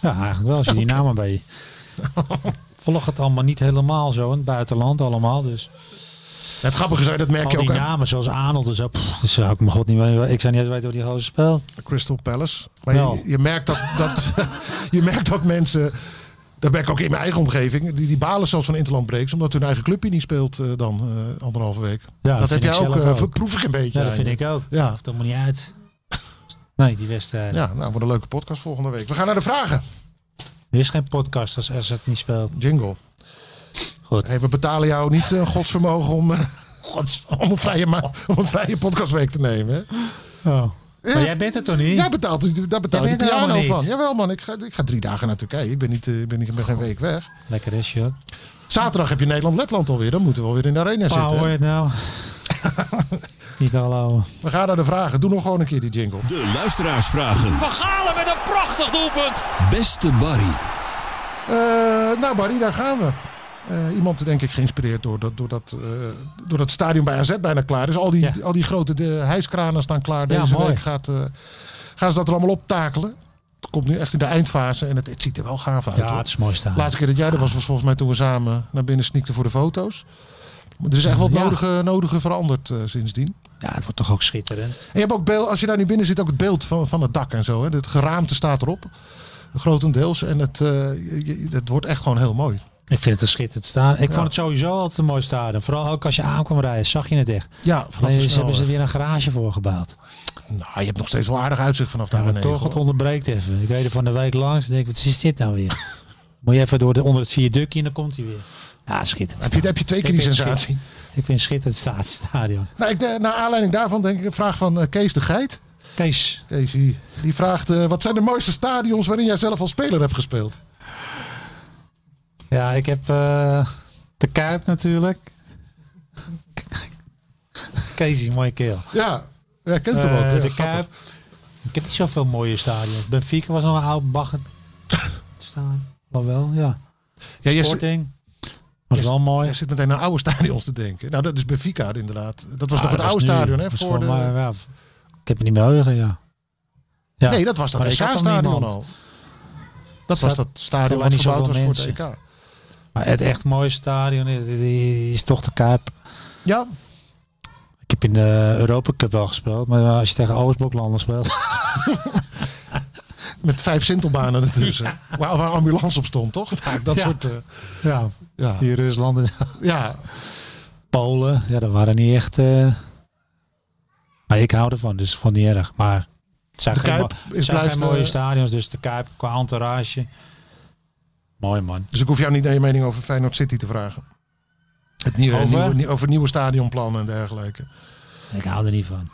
[SPEAKER 4] Ja, eigenlijk wel. Als je die namen bij je... Volg het allemaal niet helemaal zo in het buitenland allemaal. Dus
[SPEAKER 3] Het grappige is, dat merk
[SPEAKER 4] al
[SPEAKER 3] je
[SPEAKER 4] die
[SPEAKER 3] ook aan
[SPEAKER 4] namen zoals Arnold en zo. pff, dat zou ik mijn god niet weten. Ik zou niet eens weten hoe die gozer speelt.
[SPEAKER 3] Crystal Palace. Maar
[SPEAKER 4] Wel.
[SPEAKER 3] je, je, merkt dat, dat, je merkt dat mensen... Daar ben ik ook in mijn eigen omgeving. Die, die balen zelfs van interlandbreaks. Omdat hun eigen clubje niet speelt eh, dan eh, anderhalve week.
[SPEAKER 4] dat
[SPEAKER 3] dat
[SPEAKER 4] vind
[SPEAKER 3] heb jij
[SPEAKER 4] ik
[SPEAKER 3] ook.
[SPEAKER 4] zelf
[SPEAKER 3] eh,
[SPEAKER 4] ook.
[SPEAKER 3] ver- proef ik een beetje.
[SPEAKER 4] Ja, dat
[SPEAKER 3] aan
[SPEAKER 4] vind
[SPEAKER 3] je.
[SPEAKER 4] ik ook.
[SPEAKER 3] Ja.
[SPEAKER 4] Of dat moet niet uit. Nee, die wedstrijd.
[SPEAKER 3] Ja, nou, wordt een leuke podcast volgende week. We gaan naar de vragen.
[SPEAKER 4] Er is geen podcast als AZ niet speelt.
[SPEAKER 3] Jingle.
[SPEAKER 4] Goed.
[SPEAKER 3] Hey, we betalen jou niet een godsvermogen om, eh, om, een vrije ma- om een vrije podcastweek te nemen. hè?
[SPEAKER 4] Oh. Maar jij bent het toch niet?
[SPEAKER 3] Jij betaalt, daar betaal
[SPEAKER 4] Jij
[SPEAKER 3] je
[SPEAKER 4] bent er
[SPEAKER 3] piano
[SPEAKER 4] allemaal
[SPEAKER 3] van.
[SPEAKER 4] niet.
[SPEAKER 3] Jawel man, ik ga, ik ga drie dagen naar Turkije. Ik ben, niet, eh, ik ben, niet- ik ben geen week weg.
[SPEAKER 4] Lekker is, joh.
[SPEAKER 3] Zaterdag heb je Nederland-Letland alweer. Dan moeten we alweer in de arena
[SPEAKER 4] Pa,
[SPEAKER 3] zitten.
[SPEAKER 4] hoor je
[SPEAKER 3] hè?
[SPEAKER 4] het nou? niet al ouwe.
[SPEAKER 3] We gaan naar de vragen. Doe nog gewoon een keer die jingle.
[SPEAKER 5] De luisteraarsvragen.
[SPEAKER 6] Van Galen met een prachtig doelpunt.
[SPEAKER 5] Beste Barry.
[SPEAKER 3] Eh, nou Barry, daar gaan we. Eh, iemand denk ik geïnspireerd door dat, door, dat, eh, door dat stadion bij AZ bijna klaar is. Al die,
[SPEAKER 4] Ja.
[SPEAKER 3] al die grote de, hijskranen staan klaar.
[SPEAKER 4] Ja,
[SPEAKER 3] Deze
[SPEAKER 4] mooi.
[SPEAKER 3] week gaat, eh, gaan ze dat er allemaal optakelen. Het komt nu echt in de eindfase en het, het ziet er wel gaaf uit.
[SPEAKER 4] Ja,
[SPEAKER 3] hoor.
[SPEAKER 4] het is mooi staan.
[SPEAKER 3] laatste keer dat jij er was, was volgens mij toen we samen naar binnen sneakten voor de foto's. Maar er is echt wat
[SPEAKER 4] Ja.
[SPEAKER 3] nodige, nodige veranderd eh, sindsdien.
[SPEAKER 4] Ja, het wordt toch ook schitterend.
[SPEAKER 3] En je hebt ook beeld, als je daar nu binnen zit, ook het beeld van, van het dak en zo. Hè. Het geraamte staat erop, grotendeels. En het, eh, je- je- het wordt echt gewoon heel mooi.
[SPEAKER 4] Ik vind het een schitterend staan. Ik
[SPEAKER 3] Ja.
[SPEAKER 4] vond het sowieso altijd een mooi stadion. Vooral ook als je aankwam rijden, zag je het echt.
[SPEAKER 3] Ja,
[SPEAKER 4] Alleen ze hebben ze weer een garage voor gebouwd.
[SPEAKER 3] Nou, je hebt nog steeds wel aardig uitzicht vanaf daar
[SPEAKER 4] Ja, maar
[SPEAKER 3] beneden.
[SPEAKER 4] toch, het
[SPEAKER 3] hoor.
[SPEAKER 4] onderbreekt even. Ik reed er van de wijk langs en denk, wat is dit nou weer? Moet je even door de, onder het viaductje en dan komt hij weer. Ja, schitterend.
[SPEAKER 3] Heb je,
[SPEAKER 4] staan.
[SPEAKER 3] heb je twee keer die
[SPEAKER 4] Ik vind het
[SPEAKER 3] sensatie?
[SPEAKER 4] Ik vind het schitterend sta- stadion.
[SPEAKER 3] Nou, ik, de- naar aanleiding daarvan denk ik een vraag van eh, Kees de Geit.
[SPEAKER 4] Kees,
[SPEAKER 3] Kees, die, die vraagt, eh, wat zijn de mooiste stadions waarin jij zelf als speler hebt gespeeld?
[SPEAKER 4] Ja, ik heb eh, de Kuip natuurlijk. Casey, mooie keel.
[SPEAKER 3] Ja, ja kent hem ook.
[SPEAKER 4] Eh,
[SPEAKER 3] Ja,
[SPEAKER 4] de
[SPEAKER 3] grappig.
[SPEAKER 4] Kuip. Ik heb niet zoveel mooie stadions. Benfica was nog een oud bagger staan. Maar wel, ja.
[SPEAKER 3] Ja, jij, zit-
[SPEAKER 4] Sporting. Was wel mooi.
[SPEAKER 3] jij zit meteen aan oude stadions te denken. Nou, dat is Benfica inderdaad. Dat was
[SPEAKER 4] Ah,
[SPEAKER 3] nog het
[SPEAKER 4] dat
[SPEAKER 3] oude
[SPEAKER 4] was nu.
[SPEAKER 3] stadion, hè?
[SPEAKER 4] Dat is
[SPEAKER 3] Voor
[SPEAKER 4] voor
[SPEAKER 3] de...
[SPEAKER 4] mij, ja, v- ik heb het niet meer heugen, ja. ja.
[SPEAKER 3] Nee, dat was dat
[SPEAKER 4] Maar ik had dan
[SPEAKER 3] EK-stadion
[SPEAKER 4] niemand.
[SPEAKER 3] al. Dat was
[SPEAKER 4] Zat-
[SPEAKER 3] dat stadion
[SPEAKER 4] er
[SPEAKER 3] wat
[SPEAKER 4] niet
[SPEAKER 3] verbouwd was
[SPEAKER 4] zoveel
[SPEAKER 3] voor het EK.
[SPEAKER 4] Maar het echt mooie stadion is, is- is toch de Kuip.
[SPEAKER 3] E Ja,
[SPEAKER 4] Ik heb in de Europa Cup wel gespeeld. Maar als je tegen Oostbloklanden speelt...
[SPEAKER 3] met vijf sintelbanen ertussen. Waar, waar ambulance op stond, toch? Nou, dat
[SPEAKER 4] Ja.
[SPEAKER 3] soort... eh,
[SPEAKER 4] ja,
[SPEAKER 3] ja.
[SPEAKER 4] die Rusland en zo.
[SPEAKER 3] ja,
[SPEAKER 4] Polen, ja, dat waren niet echt. eh, Maar ik hou ervan, dus ik vond het niet erg. Maar het zijn,
[SPEAKER 3] De
[SPEAKER 4] geen,
[SPEAKER 3] Kuip
[SPEAKER 4] mo-
[SPEAKER 3] is
[SPEAKER 4] het zijn geen
[SPEAKER 3] blijft,
[SPEAKER 4] mooie
[SPEAKER 3] eh,
[SPEAKER 4] stadions, dus de Kuip qua entourage. Mooi man.
[SPEAKER 3] Dus ik hoef jou niet naar je mening over Feyenoord City te vragen. Het nieuwe,
[SPEAKER 4] Over?
[SPEAKER 3] nieuwe, nieuwe- over nieuwe stadionplannen en dergelijke.
[SPEAKER 4] Ik hou er niet van.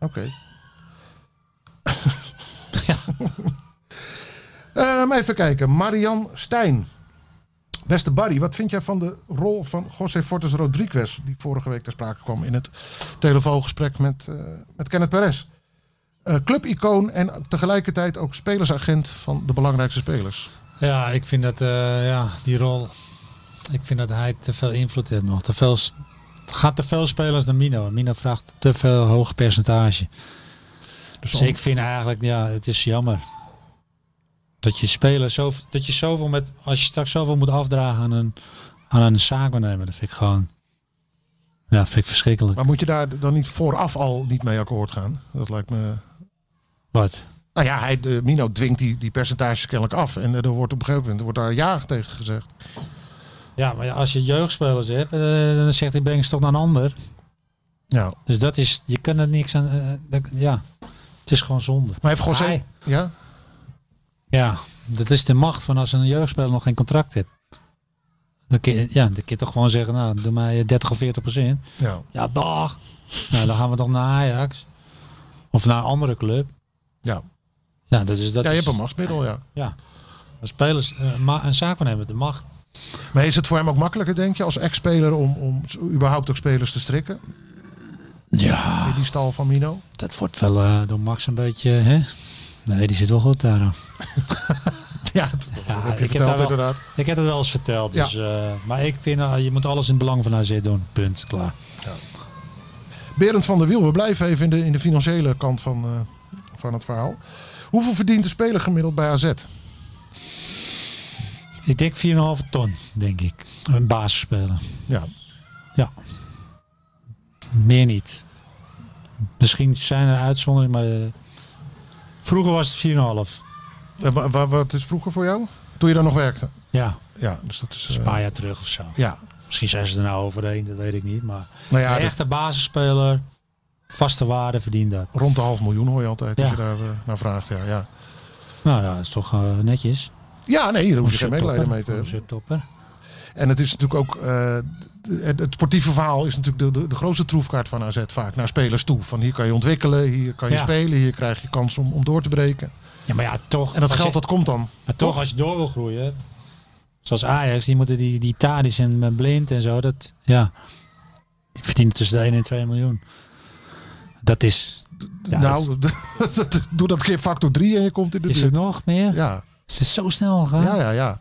[SPEAKER 3] Oké.
[SPEAKER 4] Ja.
[SPEAKER 3] Ehm, even kijken. Marian Stijn. Beste Barry, wat vind jij van de rol van José Fortes Rodriguez... die vorige week ter sprake kwam in het telefoongesprek met, eh, met Kenneth Perez? Eh, clubicoon en tegelijkertijd ook spelersagent van de belangrijkste spelers.
[SPEAKER 4] Ja, ik vind dat eh, ja, die rol. Ik vind dat hij te veel invloed heeft nog. Te veel, s- het gaat te veel spelers naar Mino. Mino vraagt te veel hoog percentage. Dus,
[SPEAKER 3] om-
[SPEAKER 4] ik vind eigenlijk, ja, het is jammer. Dat je spelers zo, dat je zoveel met, als je straks zoveel moet afdragen aan een, aan een zaakwaarnemer, dat vind ik gewoon, ja, vind ik verschrikkelijk.
[SPEAKER 3] Maar moet je daar dan niet vooraf al niet mee akkoord gaan? Dat lijkt me...
[SPEAKER 4] Wat?
[SPEAKER 3] Nou ja, hij, de, Mino dwingt die, die percentages kennelijk af. En eh, er wordt op een gegeven moment wordt daar ja tegen gezegd.
[SPEAKER 4] Ja, maar ja, als je jeugdspelers hebt, eh, dan zegt hij breng ze toch naar een ander.
[SPEAKER 3] Ja.
[SPEAKER 4] Dus dat is, je kan er niks aan, eh, dat- ja, het is gewoon zonde.
[SPEAKER 3] Maar heeft José...
[SPEAKER 4] Hij-
[SPEAKER 3] Ja?
[SPEAKER 4] Ja, dat is de macht van als een jeugdspeler nog geen contract hebt. Dan kun je, ja, dan kun je toch gewoon zeggen, nou, doe mij eh, 30 of 40 procent.
[SPEAKER 3] Ja.
[SPEAKER 4] Ja, dag. Nou, dan gaan we toch naar Ajax. Of naar een andere club.
[SPEAKER 3] Ja.
[SPEAKER 4] Ja, dat is dat.
[SPEAKER 3] ja, je
[SPEAKER 4] is-
[SPEAKER 3] hebt een machtsmiddel, ja.
[SPEAKER 4] ja. Als spelers eh, ma- een zaak van hebben, de macht.
[SPEAKER 3] Maar is het voor hem ook makkelijker, denk je, als ex-speler... Om, om überhaupt ook spelers te strikken?
[SPEAKER 4] Ja,
[SPEAKER 3] In die stal van Mino?
[SPEAKER 4] dat wordt wel eh, door Max een beetje, hè? Nee, die zit wel goed daar.
[SPEAKER 3] Ja, dat, dat
[SPEAKER 4] Ja,
[SPEAKER 3] heb je
[SPEAKER 4] ik heb
[SPEAKER 3] verteld
[SPEAKER 4] daar wel-
[SPEAKER 3] inderdaad.
[SPEAKER 4] Ik heb het wel eens verteld. Dus, eh, maar ik vind, eh, je moet alles in het belang van AZ doen. Punt. Klaar.
[SPEAKER 3] Berend van der Wiel, we blijven even in de, in de financiële kant van, eh, van het verhaal. Hoeveel verdient de speler gemiddeld bij AZ?
[SPEAKER 4] Ik denk 4,5 ton, denk ik. Een basisspeler.
[SPEAKER 3] Ja,
[SPEAKER 4] Ja. Meer niet. Misschien zijn er uitzonderingen, maar eh, vroeger was het 4,5.
[SPEAKER 3] Eh, wa- wa- wat is vroeger voor jou? Toen je daar nog werkte?
[SPEAKER 4] Ja,
[SPEAKER 3] Ja, dus dat is...
[SPEAKER 4] dat is
[SPEAKER 3] eh,
[SPEAKER 4] een paar jaar terug of zo.
[SPEAKER 3] ja,
[SPEAKER 4] Misschien zijn ze er nou overheen, dat weet ik niet. Maar
[SPEAKER 3] nou ja,
[SPEAKER 4] een
[SPEAKER 3] dat-
[SPEAKER 4] echte basisspeler, vaste waarde verdient dat.
[SPEAKER 3] rond de half miljoen hoor je altijd als
[SPEAKER 4] Ja.
[SPEAKER 3] je daar eh, naar vraagt. Ja, ja.
[SPEAKER 4] Nou ja, dat is toch eh, netjes.
[SPEAKER 3] ja nee, daar hoef je geen
[SPEAKER 4] Onze
[SPEAKER 3] medelijden
[SPEAKER 4] topper.
[SPEAKER 3] mee te hebben.
[SPEAKER 4] Onze topper.
[SPEAKER 3] En het is natuurlijk ook. eh, het het sportieve verhaal is natuurlijk de, de, de grootste troefkaart van AZ vaak naar spelers toe. Van hier kan je ontwikkelen, hier kan je
[SPEAKER 4] Ja.
[SPEAKER 3] spelen, hier krijg je kans om, om door te breken.
[SPEAKER 4] Ja, maar ja, toch.
[SPEAKER 3] En dat
[SPEAKER 4] als
[SPEAKER 3] geld
[SPEAKER 4] je-
[SPEAKER 3] dat komt dan.
[SPEAKER 4] Maar toch, als je door wil groeien. Zoals Ajax, die moeten die, die Tadis en Blind en zo. Dat, ja, die verdienen tussen de 1 en 2 miljoen. Dat is. Ja, dat
[SPEAKER 3] nou, dat- doe dat keer factor 3 en je komt in de
[SPEAKER 4] is, is
[SPEAKER 3] buurt.
[SPEAKER 4] het nog meer?
[SPEAKER 3] Ja,
[SPEAKER 4] Is het zo snel gegaan?
[SPEAKER 3] ja, ja. ja.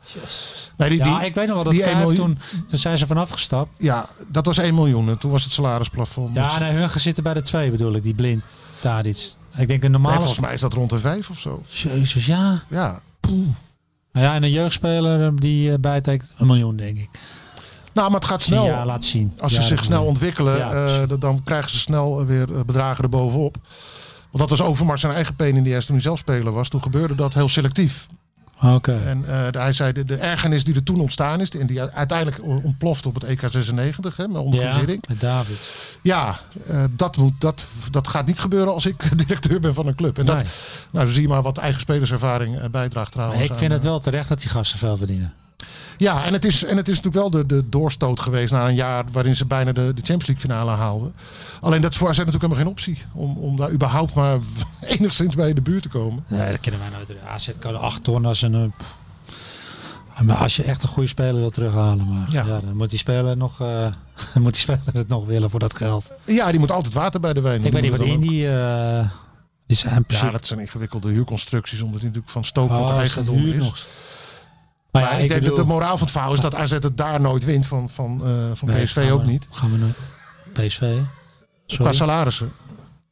[SPEAKER 3] Nee, die, die,
[SPEAKER 4] Ja, ik weet nog wel dat
[SPEAKER 3] die 1
[SPEAKER 4] Cruijff
[SPEAKER 3] miljoen-
[SPEAKER 4] toen, toen zijn ze vanaf gestapt.
[SPEAKER 3] ja, dat was 1 miljoen. En toen was het salarisplafond.
[SPEAKER 4] Ja,
[SPEAKER 3] Dus-
[SPEAKER 4] nee, hun gaan zitten bij de twee bedoel ik, die blind Tadic. Ik denk een
[SPEAKER 3] nee,
[SPEAKER 4] normale...
[SPEAKER 3] volgens mij is dat rond de 5 of zo.
[SPEAKER 4] Jezus, ja.
[SPEAKER 3] Ja.
[SPEAKER 4] Nou ja, en een jeugdspeler eh, die eh, bijtekent een miljoen, denk ik.
[SPEAKER 3] Nou, maar het gaat
[SPEAKER 4] Die
[SPEAKER 3] snel.
[SPEAKER 4] ja, laat zien.
[SPEAKER 3] Als ze
[SPEAKER 4] Ja,
[SPEAKER 3] zich
[SPEAKER 4] dat
[SPEAKER 3] snel
[SPEAKER 4] bedoel ik.
[SPEAKER 3] ontwikkelen,
[SPEAKER 4] Ja,
[SPEAKER 3] eh,
[SPEAKER 4] precies.
[SPEAKER 3] dat- dan krijgen ze snel eh, weer eh, bedragen erbovenop. Want dat was Overmars zijn eigen pen in de eerste toen hij zelf speler was. Toen gebeurde dat heel selectief.
[SPEAKER 4] Oké.
[SPEAKER 3] En eh, de- hij zei, de, de ergernis die er toen ontstaan is... en die uiteindelijk ontploft op het EK 96, hè, met onder
[SPEAKER 4] Ja,
[SPEAKER 3] Guziring.
[SPEAKER 4] met David.
[SPEAKER 3] Ja, eh, dat, moet, dat, dat gaat niet gebeuren als ik directeur ben van een club. En dat,
[SPEAKER 4] Nee.
[SPEAKER 3] nou, zo zie je maar wat eigen spelerservaring eh, bijdraagt trouwens.
[SPEAKER 4] Maar ik
[SPEAKER 3] aan,
[SPEAKER 4] vind
[SPEAKER 3] eh,
[SPEAKER 4] het wel terecht dat die gasten veel verdienen.
[SPEAKER 3] Ja, en het is, en het is natuurlijk wel de, de doorstoot geweest na een jaar waarin ze bijna de, de Champions League finale haalden. Alleen dat is voor AZ natuurlijk helemaal geen optie om, om daar überhaupt maar enigszins bij in de buurt te komen.
[SPEAKER 4] Nee, dat kunnen wij nooit. doen. AZ kan 8 ton als een... eh, pff. Maar als je echt een goede speler wil terughalen, maar
[SPEAKER 3] Ja.
[SPEAKER 4] ja. dan moet die speler nog, eh, dan moet die speler het nog willen voor dat geld.
[SPEAKER 3] Ja, die moet altijd water bij de wijn.
[SPEAKER 4] ik weet niet
[SPEAKER 3] Die
[SPEAKER 4] wat
[SPEAKER 3] moet dan ook-
[SPEAKER 4] Indie, eh die zijn precies.
[SPEAKER 3] Ja, dat zijn ingewikkelde huurconstructies, omdat die natuurlijk van stook
[SPEAKER 4] Oh,
[SPEAKER 3] ook
[SPEAKER 4] dat
[SPEAKER 3] eigendom
[SPEAKER 4] duurt
[SPEAKER 3] is.
[SPEAKER 4] nog.
[SPEAKER 3] Maar
[SPEAKER 4] Maar ja,
[SPEAKER 3] ik, denk dat de moraal van het verhaal is dat AZ het daar nooit wint van, van, eh, van
[SPEAKER 4] Nee,
[SPEAKER 3] PSV
[SPEAKER 4] gaan
[SPEAKER 3] ook
[SPEAKER 4] we-
[SPEAKER 3] niet.
[SPEAKER 4] Gaan we naar PSV? hè?
[SPEAKER 3] Qua
[SPEAKER 4] Sorry.
[SPEAKER 3] salarissen.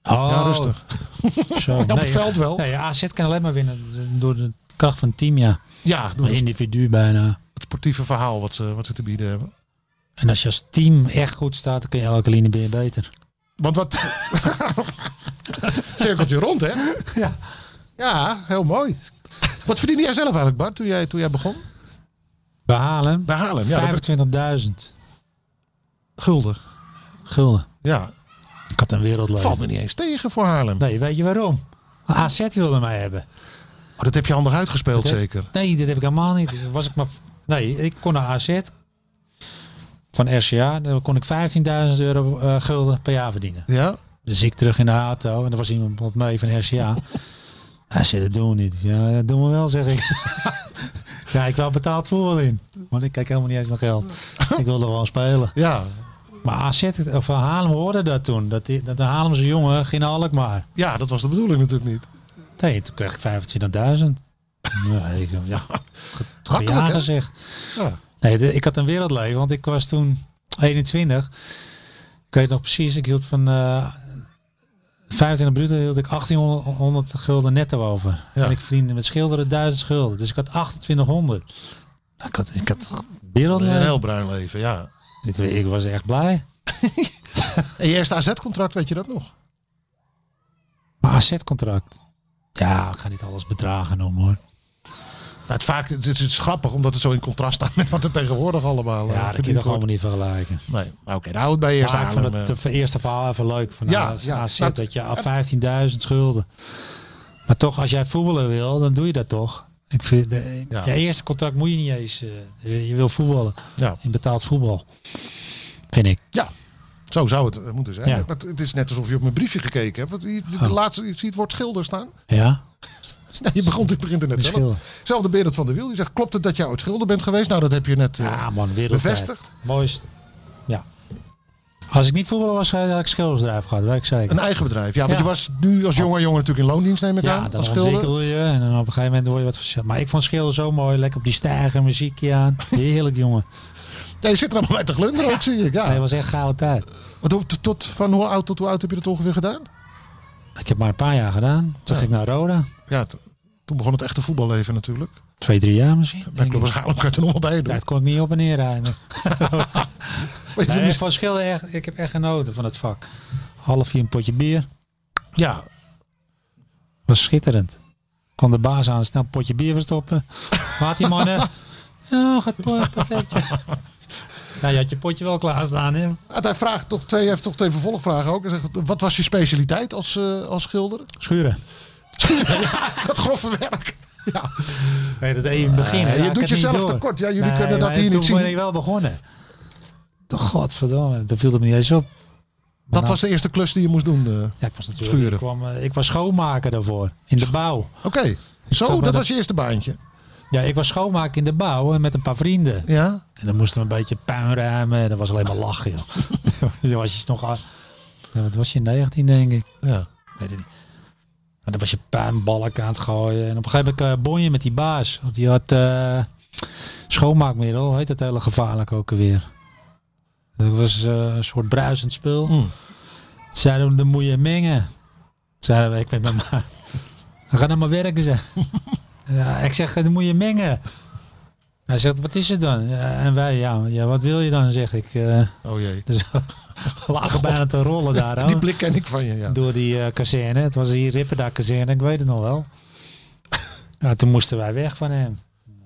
[SPEAKER 4] Oh,
[SPEAKER 3] Ja, rustig.
[SPEAKER 4] Zo.
[SPEAKER 3] Op het
[SPEAKER 4] Nee,
[SPEAKER 3] veld wel.
[SPEAKER 4] nee, AZ kan alleen maar winnen door de kracht van het team, ja.
[SPEAKER 3] Ja, door
[SPEAKER 4] Maar
[SPEAKER 3] het
[SPEAKER 4] individu bijna.
[SPEAKER 3] sportieve verhaal wat ze, wat ze te bieden hebben.
[SPEAKER 4] En als je als team echt goed staat, dan kun je elke linie weer beter.
[SPEAKER 3] Want wat. Cirkeltje rond, hè? Ja. Ja, heel mooi. Wat verdiende jij zelf eigenlijk, Bart, toen jij, toen jij begon?
[SPEAKER 4] Behalen.
[SPEAKER 3] Bij Haarlem, ja. dat-
[SPEAKER 4] 25.000
[SPEAKER 3] Gulden.
[SPEAKER 4] gulden.
[SPEAKER 3] Ja.
[SPEAKER 4] Ik had een
[SPEAKER 3] Valt
[SPEAKER 4] wereldleven.
[SPEAKER 3] me niet eens tegen voor Haarlem.
[SPEAKER 4] Nee, weet je waarom? AZ wilde mij hebben.
[SPEAKER 3] Oh, dat heb je handig uitgespeeld,
[SPEAKER 4] Dat heb-
[SPEAKER 3] zeker.
[SPEAKER 4] Nee, dat heb ik helemaal niet. Dat Was ik maar... Nee, ik kon naar AZ van RCA. Dan kon ik 15.000 euro eh, gulden per jaar verdienen.
[SPEAKER 3] Ja?
[SPEAKER 4] Dus ik terug in de auto en er was iemand mee van RCA. Hij zei, dat doen we niet. Ja, dat doen we wel, zeg ik. ja, ik wel betaald voetbal in. Want ik kijk helemaal niet eens naar geld. Ik wilde gewoon spelen.
[SPEAKER 3] Ja.
[SPEAKER 4] Maar AZ, of Haarlem hoorde dat toen. Dat, die- dat de Haarlemse jongen ging naar Alkmaar.
[SPEAKER 3] Ja, dat was de bedoeling natuurlijk niet.
[SPEAKER 4] Nee, toen kreeg ik 25.000. Nee, ik, ja, toch
[SPEAKER 3] Makkelijk,
[SPEAKER 4] ja
[SPEAKER 3] hè?
[SPEAKER 4] gezegd.
[SPEAKER 3] Ja.
[SPEAKER 4] Nee, de- ik had een wereldleven, want ik was toen 21. Ik weet nog precies, ik hield van eh 25 minuten hield ik 1800 gulden netto over.
[SPEAKER 3] Ja.
[SPEAKER 4] En ik verdiende met schilderen 1000 gulden. Dus ik had 2800. Nou, Ik had, ik had toch wereldleven.
[SPEAKER 3] Een heel bruin leven, ja.
[SPEAKER 4] ik, weet- ik was echt blij.
[SPEAKER 3] En je eerste AZ-contract, weet je dat nog?
[SPEAKER 4] Maar AZ-contract. Ja, ik ga niet alles bedragen noemen hoor.
[SPEAKER 3] Nou, het, vaak, het, is, het is grappig, omdat het zo in contrast staat met wat er tegenwoordig allemaal eh,
[SPEAKER 4] Ja, dat kun je
[SPEAKER 3] verdiend
[SPEAKER 4] toch
[SPEAKER 3] wordt.
[SPEAKER 4] allemaal niet vergelijken.
[SPEAKER 3] Nee, nou, oké, nou hou het bij je eerste
[SPEAKER 4] Maar ik vond
[SPEAKER 3] Haarlem.
[SPEAKER 4] het
[SPEAKER 3] eh.
[SPEAKER 4] eh, eerste verhaal even leuk. Van
[SPEAKER 3] Ja,
[SPEAKER 4] ja,
[SPEAKER 3] ja,
[SPEAKER 4] AZ,
[SPEAKER 3] dat-
[SPEAKER 4] dat je al 15.000 schulden. Maar toch, als jij voetballen wil, dan doe je dat toch. Ik vind, de,
[SPEAKER 3] Ja.
[SPEAKER 4] Je eerste contract moet je niet eens. eh, je- je wil voetballen.
[SPEAKER 3] Ja.
[SPEAKER 4] In betaald voetbal. Vind ik.
[SPEAKER 3] Ja, zo zou het eh, moeten zijn.
[SPEAKER 4] Ja.
[SPEAKER 3] Maar het- het is net alsof je op mijn briefje gekeken hebt. Want je, de, de
[SPEAKER 4] Oh.
[SPEAKER 3] laatste, je ziet het woord schilder staan.
[SPEAKER 4] Ja.
[SPEAKER 3] Je begint, je begint er net
[SPEAKER 4] De
[SPEAKER 3] zelf.
[SPEAKER 4] schilder.
[SPEAKER 3] Zelfde Berend van der Wiel. Die zegt, klopt het dat
[SPEAKER 4] Ah,
[SPEAKER 3] jij ooit schilder bent geweest? Nou, dat heb je net eh,
[SPEAKER 4] Ja, man, wereldwijd.
[SPEAKER 3] bevestigd.
[SPEAKER 4] Mooist. Ja. Als ik niet voetballer was, had ik schildersbedrijf gehad, weet ik zeker.
[SPEAKER 3] Een eigen bedrijf. Ja, want
[SPEAKER 4] Ja.
[SPEAKER 3] je was nu als jonge jongen natuurlijk in loondienst, neem ik
[SPEAKER 4] Ja,
[SPEAKER 3] aan.
[SPEAKER 4] dan
[SPEAKER 3] als schilder.
[SPEAKER 4] ontwikkel je en dan op een gegeven moment word je wat verschil. Maar ik vond schilderen zo mooi, lekker op die stijger, muziekje aan. Heerlijk, jongen.
[SPEAKER 3] Ja, je zit er allemaal bij te glunderen ook, zie ik. Ja.
[SPEAKER 4] Nee, het was echt gouden tijd.
[SPEAKER 3] Wat hoe- tot, van hoe oud tot hoe oud heb je dat ongeveer gedaan?
[SPEAKER 4] Ik heb maar een paar jaar gedaan. Toen ging ik naar Roda.
[SPEAKER 3] Ja, t- toen begon het echte voetballeven natuurlijk.
[SPEAKER 4] Twee, drie jaar misschien.
[SPEAKER 3] Bij
[SPEAKER 4] denk ik.
[SPEAKER 3] Club Haarlem kan je er nog wel bij doen.
[SPEAKER 4] Ja, het kon ik niet op en neer rijden.
[SPEAKER 3] Weet je,
[SPEAKER 4] Nee,
[SPEAKER 3] mis-
[SPEAKER 4] van schilderen echt, ik heb echt genoten van het vak. Half vier een potje bier.
[SPEAKER 3] ja,
[SPEAKER 4] was schitterend. Kon de baas aan, snel een potje bier verstoppen. Laat die mannen. Ja, gaat po- perfect. joh. Nou, je had je potje wel klaarstaan, hè?
[SPEAKER 3] Want hij vraagt toch twee, heeft toch twee vervolgvragen ook. Hij zegt, wat was je specialiteit als, eh, als schilder?
[SPEAKER 4] Schuren.
[SPEAKER 3] Dat grove werk. Ja. Eh,
[SPEAKER 4] Nee, dat even beginnen.
[SPEAKER 3] je
[SPEAKER 4] raak
[SPEAKER 3] doet
[SPEAKER 4] het niet
[SPEAKER 3] jezelf
[SPEAKER 4] door.
[SPEAKER 3] tekort. Ja, jullie kunnen dat
[SPEAKER 4] maar
[SPEAKER 3] hier niet
[SPEAKER 4] Toen
[SPEAKER 3] zien.
[SPEAKER 4] ben ik wel begonnen. Toch, Godverdomme, dat viel het me niet eens op.
[SPEAKER 3] Dat
[SPEAKER 4] nou-
[SPEAKER 3] was de eerste klus die je moest doen. eh.
[SPEAKER 4] Ja, ik was natuurlijk.
[SPEAKER 3] Schuren.
[SPEAKER 4] Ik, kwam, eh, ik was schoonmaker daarvoor. In de bouw.
[SPEAKER 3] Oké, zo,
[SPEAKER 4] maar
[SPEAKER 3] dat
[SPEAKER 4] dat-
[SPEAKER 3] was je eerste baantje.
[SPEAKER 4] Ja, ik was schoonmaker in de bouw eh, met een paar vrienden.
[SPEAKER 3] Ja,
[SPEAKER 4] En dan moesten we een beetje puin ruimen. En dat was alleen maar lachen, joh. dan was je nog... af- Ja, wat was je, 19 denk ik?
[SPEAKER 3] ja.
[SPEAKER 4] Weet het niet. Maar dan was je puinbalk aan het gooien. En op een gegeven moment eh, bon je met die baas. Want die had eh, schoonmaakmiddel. Hoe Heet dat hele gevaarlijk ook alweer. Dat was eh, een soort bruisend spul.
[SPEAKER 3] Hmm.
[SPEAKER 4] Toen zeiden we, dan moet je mengen. Toen zeiden we, ik met mijn maat. We gaan nou maar werken, ze. ja, ik zeg, dan moet je mengen. Hij zegt, wat is het dan? Ja, en wij, ja, ja, wat wil je dan? Zeg ik. eh
[SPEAKER 3] Oh jee.
[SPEAKER 4] dus we lagen bijna te rollen daar. hoor
[SPEAKER 3] Die blik ken ik van je, ja.
[SPEAKER 4] door die eh, kazerne. Het was hier Ripperda kazerne, ik weet het nog wel. nou, toen moesten wij weg van hem.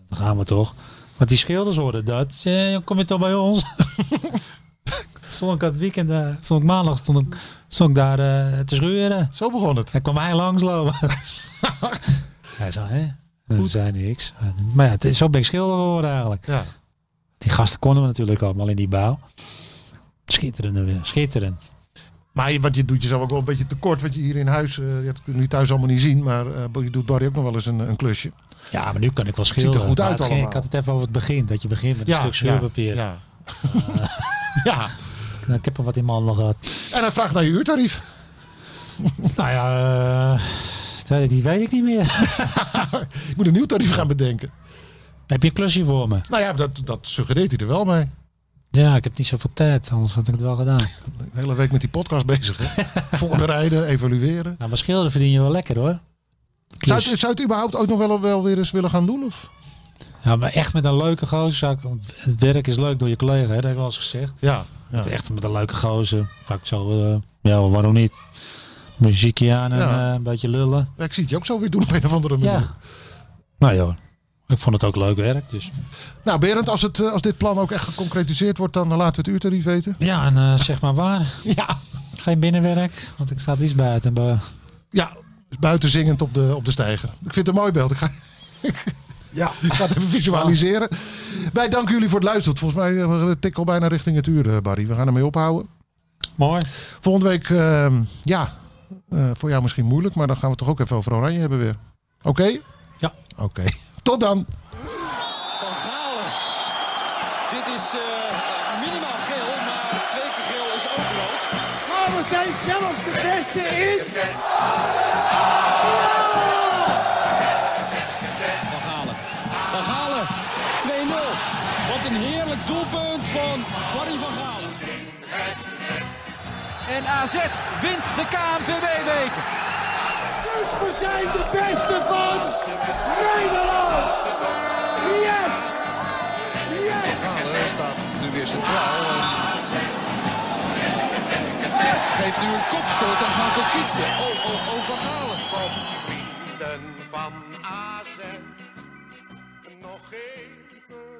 [SPEAKER 4] Dan gaan we toch. Want die schilders hoorden dat. Ze, "Hé, dan kom je toch bij ons? stond ik het weekend, eh, stond ik maandag stond ik, stond ik daar eh, te schuren.
[SPEAKER 3] Zo begon het.
[SPEAKER 4] En kwam hij langslopen. hij zei, hè? Dat zei niks. Maar ja, het is- zo ben ik schilder geworden eigenlijk.
[SPEAKER 3] Ja.
[SPEAKER 4] Die gasten konden we natuurlijk allemaal in die bouw. Schitterend, weer, schitterend.
[SPEAKER 3] Maar je, want je doet jezelf ook wel een beetje tekort, wat je hier in huis, eh, je hebt het nu thuis allemaal niet zien, maar eh, je doet Barry ook nog wel eens een, een klusje.
[SPEAKER 4] Ja, maar nu kan ik wel
[SPEAKER 3] er
[SPEAKER 4] schilderen.
[SPEAKER 3] goed
[SPEAKER 4] Maar
[SPEAKER 3] uit
[SPEAKER 4] het ging-
[SPEAKER 3] allemaal.
[SPEAKER 4] Ik had het even over het begin. Dat je begint met een stuk scheurpapier.
[SPEAKER 3] Ja. ja.
[SPEAKER 4] Nou, ik heb er wat in mijn handen gehad.
[SPEAKER 3] En hij vraagt naar je uurtarief.
[SPEAKER 4] nou ja, eh, die weet ik niet meer.
[SPEAKER 3] Ik moet een nieuw tarief gaan bedenken.
[SPEAKER 4] heb je een klusje voor me?
[SPEAKER 3] Nou ja, dat, dat suggereert hij er wel mee.
[SPEAKER 4] Ja, ik heb niet zoveel tijd. Anders had ik het wel gedaan.
[SPEAKER 3] De hele week met die podcast bezig. Hè? Voorbereiden, evalueren.
[SPEAKER 4] nou, maar schilderen verdien je wel lekker hoor.
[SPEAKER 3] Zou
[SPEAKER 4] Klus.
[SPEAKER 3] je, het- zou je het überhaupt ook nog wel, wel weer eens willen gaan doen? Of?
[SPEAKER 4] Ja, maar echt met een leuke gozer. zou ik- want Het werk is leuk door je collega, hè? dat heb ik wel eens gezegd.
[SPEAKER 3] Ja. ja.
[SPEAKER 4] Het Echt met een leuke gozer. Zou ik zo, eh, ja, waarom niet? Muziekje aan en
[SPEAKER 3] Ja.
[SPEAKER 4] eh, een beetje lullen.
[SPEAKER 3] Ja, Ik zie het je ook zo weer doen op een of andere manier.
[SPEAKER 4] Ja. Nou joh, ik vond het ook leuk werk. Dus.
[SPEAKER 3] Nou Berend, als, het, eh, als dit plan ook echt geconcretiseerd wordt, dan laten we het uurtarief weten.
[SPEAKER 4] Ja, en eh, zeg maar waar.
[SPEAKER 3] Ja.
[SPEAKER 4] Geen binnenwerk, want ik sta het liefst buiten. Maar
[SPEAKER 3] Ja, is buiten zingend op de, op de steiger. Ik vind het een mooi beeld. Ik ga, ja. ik ga het even visualiseren. Wij danken jullie voor het luisteren. Volgens mij eh, we tikken al bijna richting het uur, eh, Barry. We gaan ermee ophouden.
[SPEAKER 4] Mooi.
[SPEAKER 3] Volgende week, ehm, ja, eh, voor jou misschien moeilijk, maar dan gaan we het toch ook even over Oranje hebben weer. Oké?
[SPEAKER 4] Ja.
[SPEAKER 3] Oké. Tot dan.
[SPEAKER 7] Van Galen. Dit is eh, minimaal geel, maar twee keer geel is ook rood.
[SPEAKER 1] Maar we zijn zelfs de beste in. Ah,
[SPEAKER 7] Van Galen. Van Galen. 2-0. Wat een heerlijk doelpunt van Barry van Galen.
[SPEAKER 6] En AZ wint de KNVB-beker.
[SPEAKER 1] Dus we zijn de beste van Nederland. Yes! Yes!
[SPEAKER 2] Galen staat nu weer centraal. en Geeft nu een kopstoot aan Gaan Kokitsen. Oh, oh, oh, Van Galen.
[SPEAKER 8] vrienden van AZ nog even